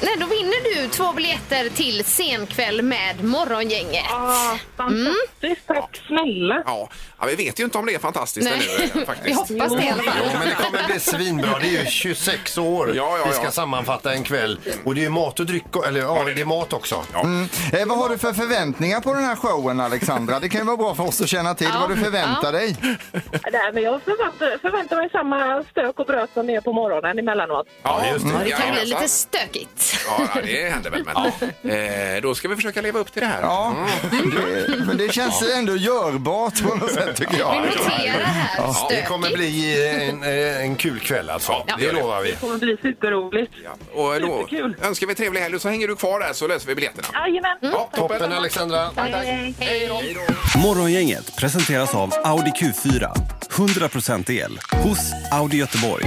Speaker 6: Nej, då vinner du två biljetter till senkväll med Morgongänget.
Speaker 2: Ah, fantastiskt. Tack snälla.
Speaker 4: Ja. ja, vi vet ju inte om det är fantastiskt
Speaker 6: Nej.
Speaker 4: ännu. eh, Faktiskt.
Speaker 6: Vi hoppas det i alla fall.
Speaker 5: Ja, men det kommer bli svinbra. Det är ju 26 år
Speaker 4: Ja, ja,
Speaker 5: vi ska
Speaker 4: ja.
Speaker 5: sammanfatta en kväll. Och det är ju mat och dryck, eller ja, det är mat också.
Speaker 7: Mm. Eh, vad har du för förväntningar på den här showen Alexandra? Det kan ju vara bra för oss att känna till
Speaker 2: Ja,
Speaker 7: vad du förväntar
Speaker 2: ja.
Speaker 7: dig.
Speaker 2: Nej, men jag förväntar, förväntar mig samma stök och bröt som det är på morgonen emellanåt.
Speaker 4: Ja, mm, just
Speaker 6: Ja, det kan bli
Speaker 4: Jajamensan.
Speaker 6: lite stökigt.
Speaker 4: Ja, ja, det händer väl. Men, eh, då ska vi försöka leva upp till det här. Mm.
Speaker 7: Ja, det, men det känns ändå görbart på något sätt tycker jag.
Speaker 6: Vi noterar här.
Speaker 5: Ja, det
Speaker 6: Stökigt.
Speaker 5: kommer bli eh, en, en kul kväll alltså.
Speaker 4: Ja. Mm.
Speaker 5: Det lovar vi.
Speaker 2: Det kommer bli superroligt.
Speaker 4: Och då
Speaker 2: Superkul.
Speaker 4: önskar vi trevlig helg och så hänger du kvar där så löser vi biljetterna.
Speaker 2: Jajamän.
Speaker 4: Ja, toppen.
Speaker 5: Toppen Alexandra!
Speaker 6: Hej då.
Speaker 14: Morgongänget presenteras av Audi Q4. 100% el hos Audi Göteborg.